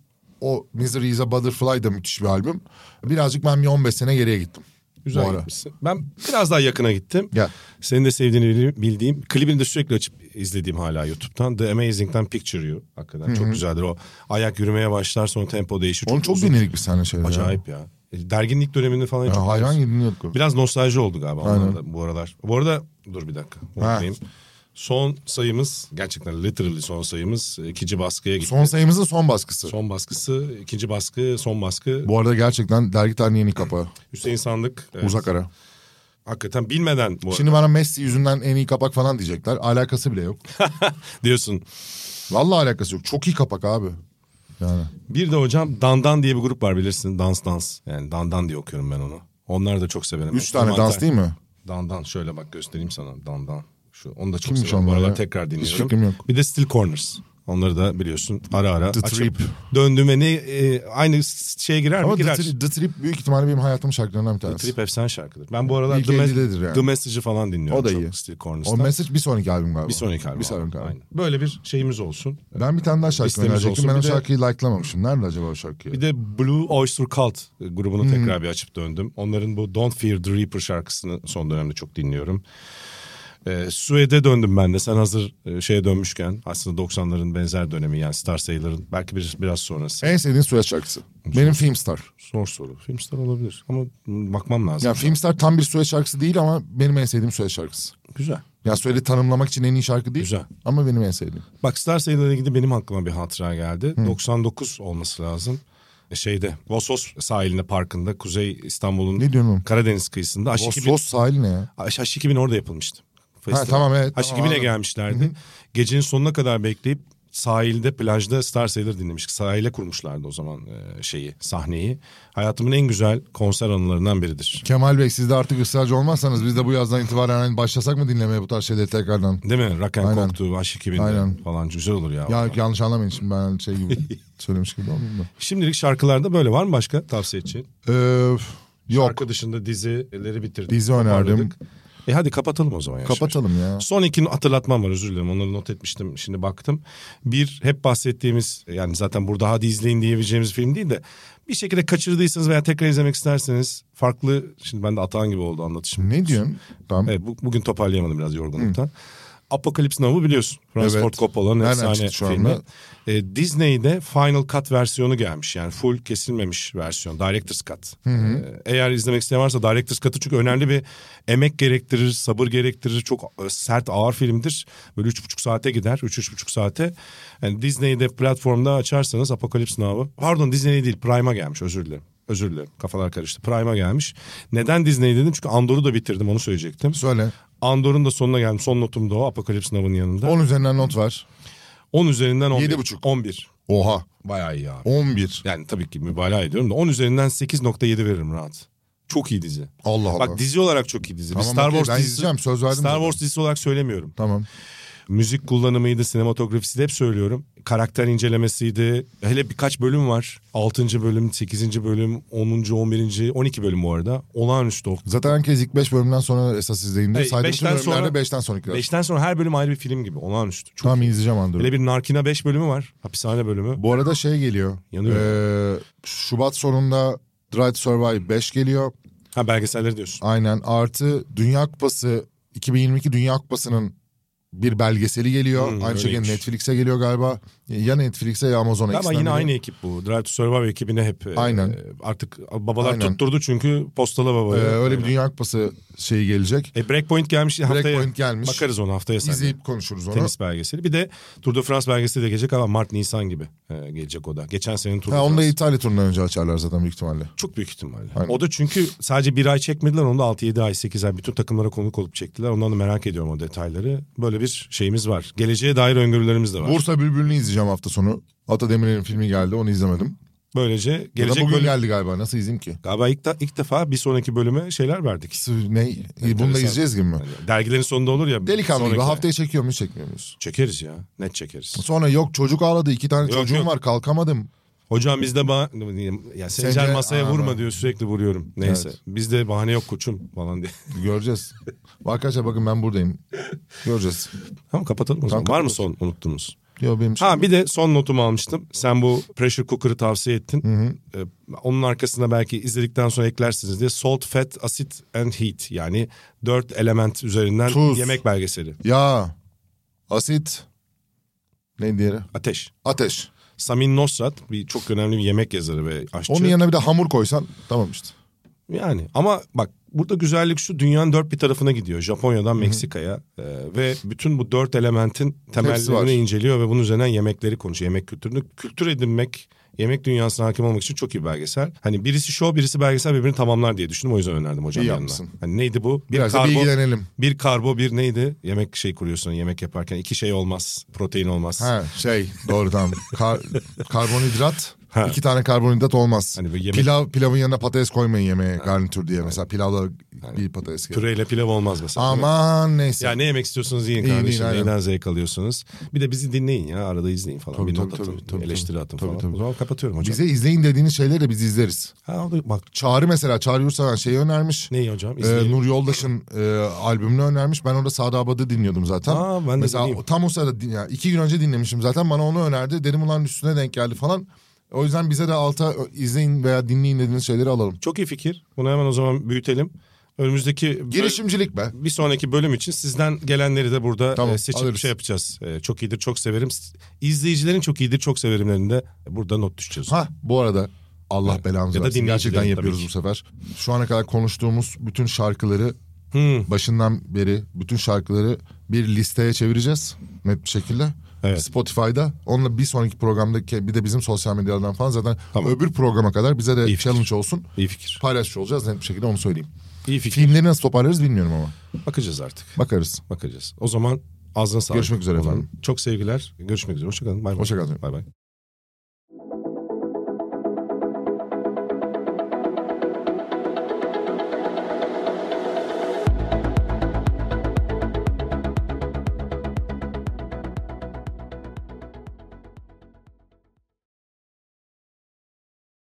S3: O Misery is a Butterfly da müthiş bir albüm. Birazcık ben bir 15 sene geriye gittim. Bu
S2: Güzel
S3: ara.
S2: gitmişsin. Ben biraz daha yakına gittim.
S3: Gel.
S2: Senin de sevdiğini bili- bildiğim, klibini de sürekli açıp izlediğim hala YouTube'dan. The Amazing'den Picture You. Hakikaten çok güzeldir o. Ayak yürümeye başlar sonra tempo değişir.
S3: Onu çok
S2: uzun.
S3: dinledik biz seninle şeyler.
S2: Acayip ya. E, Derginlik döneminde falan
S3: Ya.
S2: çok
S3: Ya, hayvan gibi dinliyorduk. onu.
S2: Biraz nostalji oldu galiba onlar da bu aralar. Bu arada dur bir dakika. unutmayayım. Son sayımız gerçekten literally son sayımız ikinci baskıya gitti.
S3: Son sayımızın son baskısı.
S2: Son baskısı, ikinci baskı, son baskı.
S3: Bu arada gerçekten dergi tarihinin yeni kapağı.
S2: Hüseyin Sandık. evet.
S3: Uzak ara.
S2: Hakikaten bilmeden bu
S3: Şimdi bana Messi yüzünden en iyi kapak falan diyecekler. Alakası bile yok.
S2: diyorsun.
S3: Vallahi alakası yok. Çok iyi kapak abi. Yani.
S2: Bir de hocam Dandan diye bir grup var bilirsin. Dans dans. Yani Dandan diye okuyorum ben onu. Onlar da çok severim.
S3: Üç tane dans değil mi?
S2: Dandan şöyle bak göstereyim sana. Dandan. Şu onu da çok
S3: Kimmiş
S2: severim. Bu
S3: onlar
S2: aralar
S3: ya?
S2: tekrar dinliyorum.
S3: fikrim yok.
S2: Bir de Still Corners. Onları da biliyorsun ara ara
S3: The
S2: açıp
S3: Trip.
S2: döndüm ve ne e, aynı şeye girer mi?
S3: Ama The,
S2: Girer.
S3: Tri- The Trip büyük ihtimalle benim hayatımın şarkılarından bir tanesi.
S2: Trip efsane şarkıdır. Ben bu aralar
S3: İlk
S2: The,
S3: ellidedir yani.
S2: The Message'ı falan dinliyorum.
S3: O da
S2: çok
S3: iyi.
S2: Still
S3: O
S2: Corners'tan.
S3: Message bir sonraki albüm galiba.
S2: bir sonraki albüm.
S3: Bir sonraki albüm.
S2: Aynen. Böyle bir şeyimiz olsun.
S3: Ben bir tane daha şarkı
S2: Listemiz
S3: önerecektim.
S2: olsun.
S3: Ben
S2: Bir
S3: o
S2: de-
S3: şarkıyı like'lamamışım. Nerede acaba o şarkı?
S2: Bir de Blue Oyster Cult grubunu tekrar bir açıp döndüm. Onların bu Don't Fear the Reaper şarkısını son dönemde çok dinliyorum. Ee, Suede döndüm ben de. Sen hazır e, şeye dönmüşken aslında 90'ların benzer dönemi yani Star Sailor'ın belki bir, biraz sonrası.
S3: En sevdiğin Suya şarkısı. Benim Filmstar.
S2: Zor soru. Filmstar olabilir ama m, bakmam lazım.
S3: Yani Filmstar tam bir Suya şarkısı değil ama benim en sevdiğim Suya şarkısı.
S2: Güzel.
S3: Ya söyle tanımlamak için en iyi şarkı değil.
S2: Güzel.
S3: Ama benim en sevdiğim.
S2: Bak Star Sailor'la ilgili benim aklıma bir hatıra geldi. 99 olması lazım. E, Şeyde Vosos sahilinde parkında Kuzey İstanbul'un
S3: Ne diyorsun oğlum?
S2: Karadeniz kıyısında Aşık
S3: Los,
S2: bir-
S3: Los sahili ne ya?
S2: H2000 orada yapılmıştı.
S3: Ha, tamam, evet,
S2: H2000'e
S3: tamam, anladım.
S2: gelmişlerdi. Gecenin sonuna kadar bekleyip sahilde plajda Star Sailor dinlemiştik. Sahile kurmuşlardı o zaman e, şeyi sahneyi. Hayatımın en güzel konser anılarından biridir.
S3: Kemal Bey siz de artık ısrarcı olmazsanız biz de bu yazdan itibaren hani başlasak mı dinlemeye bu tarz şeyleri tekrardan?
S2: Değil mi? Rock and
S3: Aynen.
S2: Coke'tu, H2000'de
S3: Aynen.
S2: falan güzel olur ya.
S3: Ya yanlış anlamayın şimdi ben şey gibi söylemiş gibi oldum da.
S2: Şimdilik şarkılarda böyle var mı başka tavsiye için?
S3: Ee, yok.
S2: Şarkı dışında dizileri bitirdik.
S3: Dizi önerdim.
S2: toparladık. E hadi kapatalım o zaman. yavaş yavaş.
S3: Kapatalım ya.
S2: Son iki hatırlatmam var özür dilerim onları not etmiştim şimdi baktım. Bir hep bahsettiğimiz yani zaten burada hadi izleyin diyebileceğimiz film değil de bir şekilde kaçırdıysanız veya tekrar izlemek isterseniz farklı şimdi ben de atağın gibi oldu anlatışım.
S3: Ne diyorsun? Tamam.
S2: Evet bu, bugün toparlayamadım biraz yorgunluktan. Apocalypse Now'u biliyorsun. Francis
S3: Evet.
S2: Ford Coppola'nın
S3: Nereden
S2: efsane
S3: çıktı şu
S2: filmi.
S3: anda?
S2: Ee, Disney'de Final Cut versiyonu gelmiş. Yani full kesilmemiş versiyon. Director's Cut. Ee, eğer izlemek isteyen varsa Director's Cut'ı çünkü önemli bir emek gerektirir, sabır gerektirir. Çok e, sert, ağır filmdir. Böyle üç buçuk saate gider. Üç, üç buçuk saate. Yani Disney'de platformda açarsanız Apocalypse Now'ı. Pardon Disney değil Prime'a gelmiş özür dilerim. Özür dilerim kafalar karıştı. Prime'a gelmiş. Neden Disney dedim? Çünkü Andor'u da bitirdim onu söyleyecektim.
S3: Söyle.
S2: Andor'un da sonuna geldim. Son notum da o Apocalypse Now'ın yanında.
S3: 10 üzerinden not ver.
S2: 10 üzerinden 11.
S3: Yedi buçuk.
S2: 11.
S3: Oha.
S2: Bayağı iyi abi.
S3: 11.
S2: Yani tabii ki mübalağa ediyorum da 10 üzerinden 8.7 veririm rahat. Çok iyi dizi.
S3: Allah Allah.
S2: Bak dizi olarak çok iyi dizi. Bir
S3: Tamam,
S2: Star
S3: okey,
S2: Wars
S3: ben
S2: dizisi,
S3: izleyeceğim, söz verdim
S2: Star
S3: zaten.
S2: Wars dizisi olarak söylemiyorum.
S3: Tamam.
S2: Müzik kullanımıydı, sinematografisi de hep söylüyorum. Karakter incelemesiydi. Hele birkaç bölüm var. 6. bölüm, 8. bölüm, 10. 11. 12 bölüm bu arada. Olağanüstü.
S3: Zaten herkes ilk 5 bölümden sonra esas izleyindir.
S2: Hey,
S3: Saydığım bütün
S2: beşten sonra-
S3: bölümlerde 5'ten sonrakiler.
S2: 5'ten sonra her bölüm ayrı bir film gibi. Olağanüstü. Çok
S3: Tamam izleyeceğim Andor'u.
S2: Hele bir Narkina 5 bölümü var. Hapishane bölümü.
S3: Bu arada şey geliyor.
S2: Yanıyor.
S3: Ee, Şubat sonunda Drive to Survive 5 geliyor.
S2: Ha belgeselleri diyorsun.
S3: Aynen. Artı Dünya Kupası 2022 Dünya Kupası'nın bir belgeseli geliyor.
S2: Hmm,
S3: Aynı şekilde
S2: öyleymiş.
S3: Netflix'e geliyor galiba. Ya Netflix'e ya Amazon'a.
S2: Ama
S3: ikisinden
S2: yine
S3: biri.
S2: aynı ekip bu. Drive to Survive ekibine hep e,
S3: Aynen.
S2: artık babalar
S3: Aynen.
S2: tutturdu çünkü postala
S3: Ee,
S2: babaya.
S3: öyle bir
S2: Aynen.
S3: Dünya Kupası şeyi gelecek.
S2: E, Breakpoint gelmiş haftaya.
S3: Breakpoint gelmiş.
S2: Bakarız ona haftaya sen.
S3: İzleyip konuşuruz onu.
S2: Tenis belgeseli. Bir de Tour de France belgeseli de gelecek ama Mart Nisan gibi e, gelecek o da. Geçen senenin Tour de
S3: Ha, onu da
S2: France.
S3: İtalya turundan önce açarlar zaten büyük ihtimalle.
S2: Çok büyük ihtimalle.
S3: Aynen.
S2: O da çünkü sadece bir ay çekmediler. Onu da 6-7 ay 8 ay bütün takımlara konuk olup çektiler. Ondan da merak ediyorum o detayları. Böyle bir şeyimiz var. Geleceğe dair öngörülerimiz de var.
S3: Bursa Bülbülü'nü izleyeceğim hafta sonu. Ata Demirer'in filmi geldi onu izlemedim.
S2: Böylece
S3: Ya da
S2: gelecek
S3: bugün
S2: bölüm...
S3: geldi galiba nasıl izleyeyim ki?
S2: Galiba ilk, da- ilk defa bir sonraki bölüme şeyler verdik.
S3: Ne? Bunu da
S2: Enteresan.
S3: izleyeceğiz gibi mi?
S2: Yani dergilerin sonunda olur ya.
S3: Delikanlı gibi
S2: sonraki-
S3: haftaya çekiyor muyuz çekmiyor muyuz?
S2: Çekeriz ya. Net çekeriz.
S3: Sonra yok çocuk ağladı iki tane
S2: Yok,
S3: çocuğum
S2: yok.
S3: var kalkamadım.
S2: Hocam bizde ba ya Sencer
S3: Sencer-
S2: masaya
S3: Aa,
S2: vurma
S3: bak.
S2: diyor sürekli vuruyorum. Neyse.
S3: Evet.
S2: Bizde bahane yok koçum falan diye.
S3: Göreceğiz. Arkadaşlar bakın ben buradayım. Göreceğiz.
S2: tamam kapatalım o zaman. Var mı son unuttuğumuz?
S3: Yo benim
S2: Ha bir de son notumu almıştım. Sen bu pressure cooker'ı tavsiye ettin. Ee, onun arkasına belki izledikten sonra eklersiniz diye salt, fat, acid and heat yani dört element üzerinden
S3: Tuz.
S2: yemek belgeseli.
S3: Ya asit. Ne diğeri?
S2: Ateş.
S3: Ateş.
S2: Samin Nosrat bir çok önemli bir yemek yazarı ve aşçı.
S3: Onun yanına bir de hamur koysan tamam işte.
S2: Yani ama bak burada güzellik şu dünyanın dört bir tarafına gidiyor. Japonya'dan Meksika'ya e, ve bütün bu dört elementin
S3: var.
S2: temellerini inceliyor ve bunun üzerinden yemekleri konuşuyor. Yemek kültürünü kültür edinmek, yemek dünyasına hakim olmak için çok iyi belgesel. Hani birisi show birisi belgesel birbirini tamamlar diye düşündüm. O yüzden önerdim hocam
S3: İyi
S2: yanına.
S3: yapmışsın.
S2: Hani neydi bu? Bir
S3: Biraz da
S2: karbo,
S3: bilgilenelim.
S2: bir karbo bir neydi? Yemek şey kuruyorsun yemek yaparken iki şey olmaz. Protein olmaz.
S3: Ha şey doğru tamam. Kar- karbonhidrat.
S2: Ha.
S3: iki tane karbonhidrat olmaz.
S2: Hani böyle yemek-
S3: Pilav pilavın yanına patates koymayın yemeğe garnitür diye mesela pilavla bir patates gelir.
S2: Püreyle pilav olmaz mesela. değil mi?
S3: Aman neyse.
S2: Ya ne yemek istiyorsunuz yiyin
S3: İyi,
S2: kardeşim.
S3: iyi, aynen.
S2: Neyden zevk alıyorsunuz. Bir de bizi dinleyin ya. Arada izleyin falan.
S3: Tabii,
S2: bir not
S3: tabii,
S2: atın.
S3: tabii, tabii,
S2: eleştiri atın
S3: tabii,
S2: falan.
S3: tabii.
S2: O zaman kapatıyorum hocam.
S3: Bize izleyin dediğiniz şeyleri de biz izleriz.
S2: Ha, o da- bak
S3: Çağrı mesela Çağrı Yurtseven şeyi önermiş.
S2: neyi hocam?
S3: Ee,
S2: İzleyelim.
S3: Nur Yoldaş'ın e, albümünü önermiş. Ben orada Sade Abad'ı dinliyordum zaten.
S2: Aa, ben de
S3: Mesela
S2: dinleyeyim.
S3: tam o sırada din- yani iki gün önce dinlemişim zaten. Bana onu önerdi. Dedim ulan üstüne denk geldi falan. O yüzden bize de alta ö, izleyin veya dinleyin dediğiniz şeyleri alalım.
S2: Çok iyi fikir. Bunu hemen o zaman büyütelim. Önümüzdeki böl-
S3: Girişimcilik be.
S2: bir sonraki bölüm için sizden gelenleri de burada
S3: Tamam,
S2: e, seçip
S3: alırız.
S2: şey yapacağız. E, çok iyidir, çok severim. S- İzleyicilerin çok iyidir, çok severimlerinde burada not düşeceğiz.
S3: Ha bu arada Allah belamızı
S2: Ya da
S3: versin. Gerçekten
S2: dinleyicilerin
S3: yapıyoruz
S2: tabii
S3: bu sefer. Şu ana kadar konuştuğumuz bütün şarkıları
S2: Hmm.
S3: başından beri bütün şarkıları bir listeye çevireceğiz net bir şekilde.
S2: Evet.
S3: Spotify'da. Onunla bir sonraki programdaki bir de bizim sosyal medyalardan falan zaten
S2: Tamam.
S3: öbür programa kadar bize de
S2: İyi fikir.
S3: challenge olsun.
S2: İyi fikir.
S3: Paylaşıcı olacağız net bir şekilde onu söyleyeyim.
S2: İyi fikir.
S3: Filmleri nasıl toparlarız bilmiyorum ama.
S2: Bakacağız artık.
S3: Bakarız.
S2: Bakacağız. O zaman ağzına sağlık.
S3: Görüşmek üzere efendim.
S2: Çok sevgiler. Görüşmek üzere. Hoşçakalın. Bay bay.
S3: Hoşça kalın.
S2: Bay bay.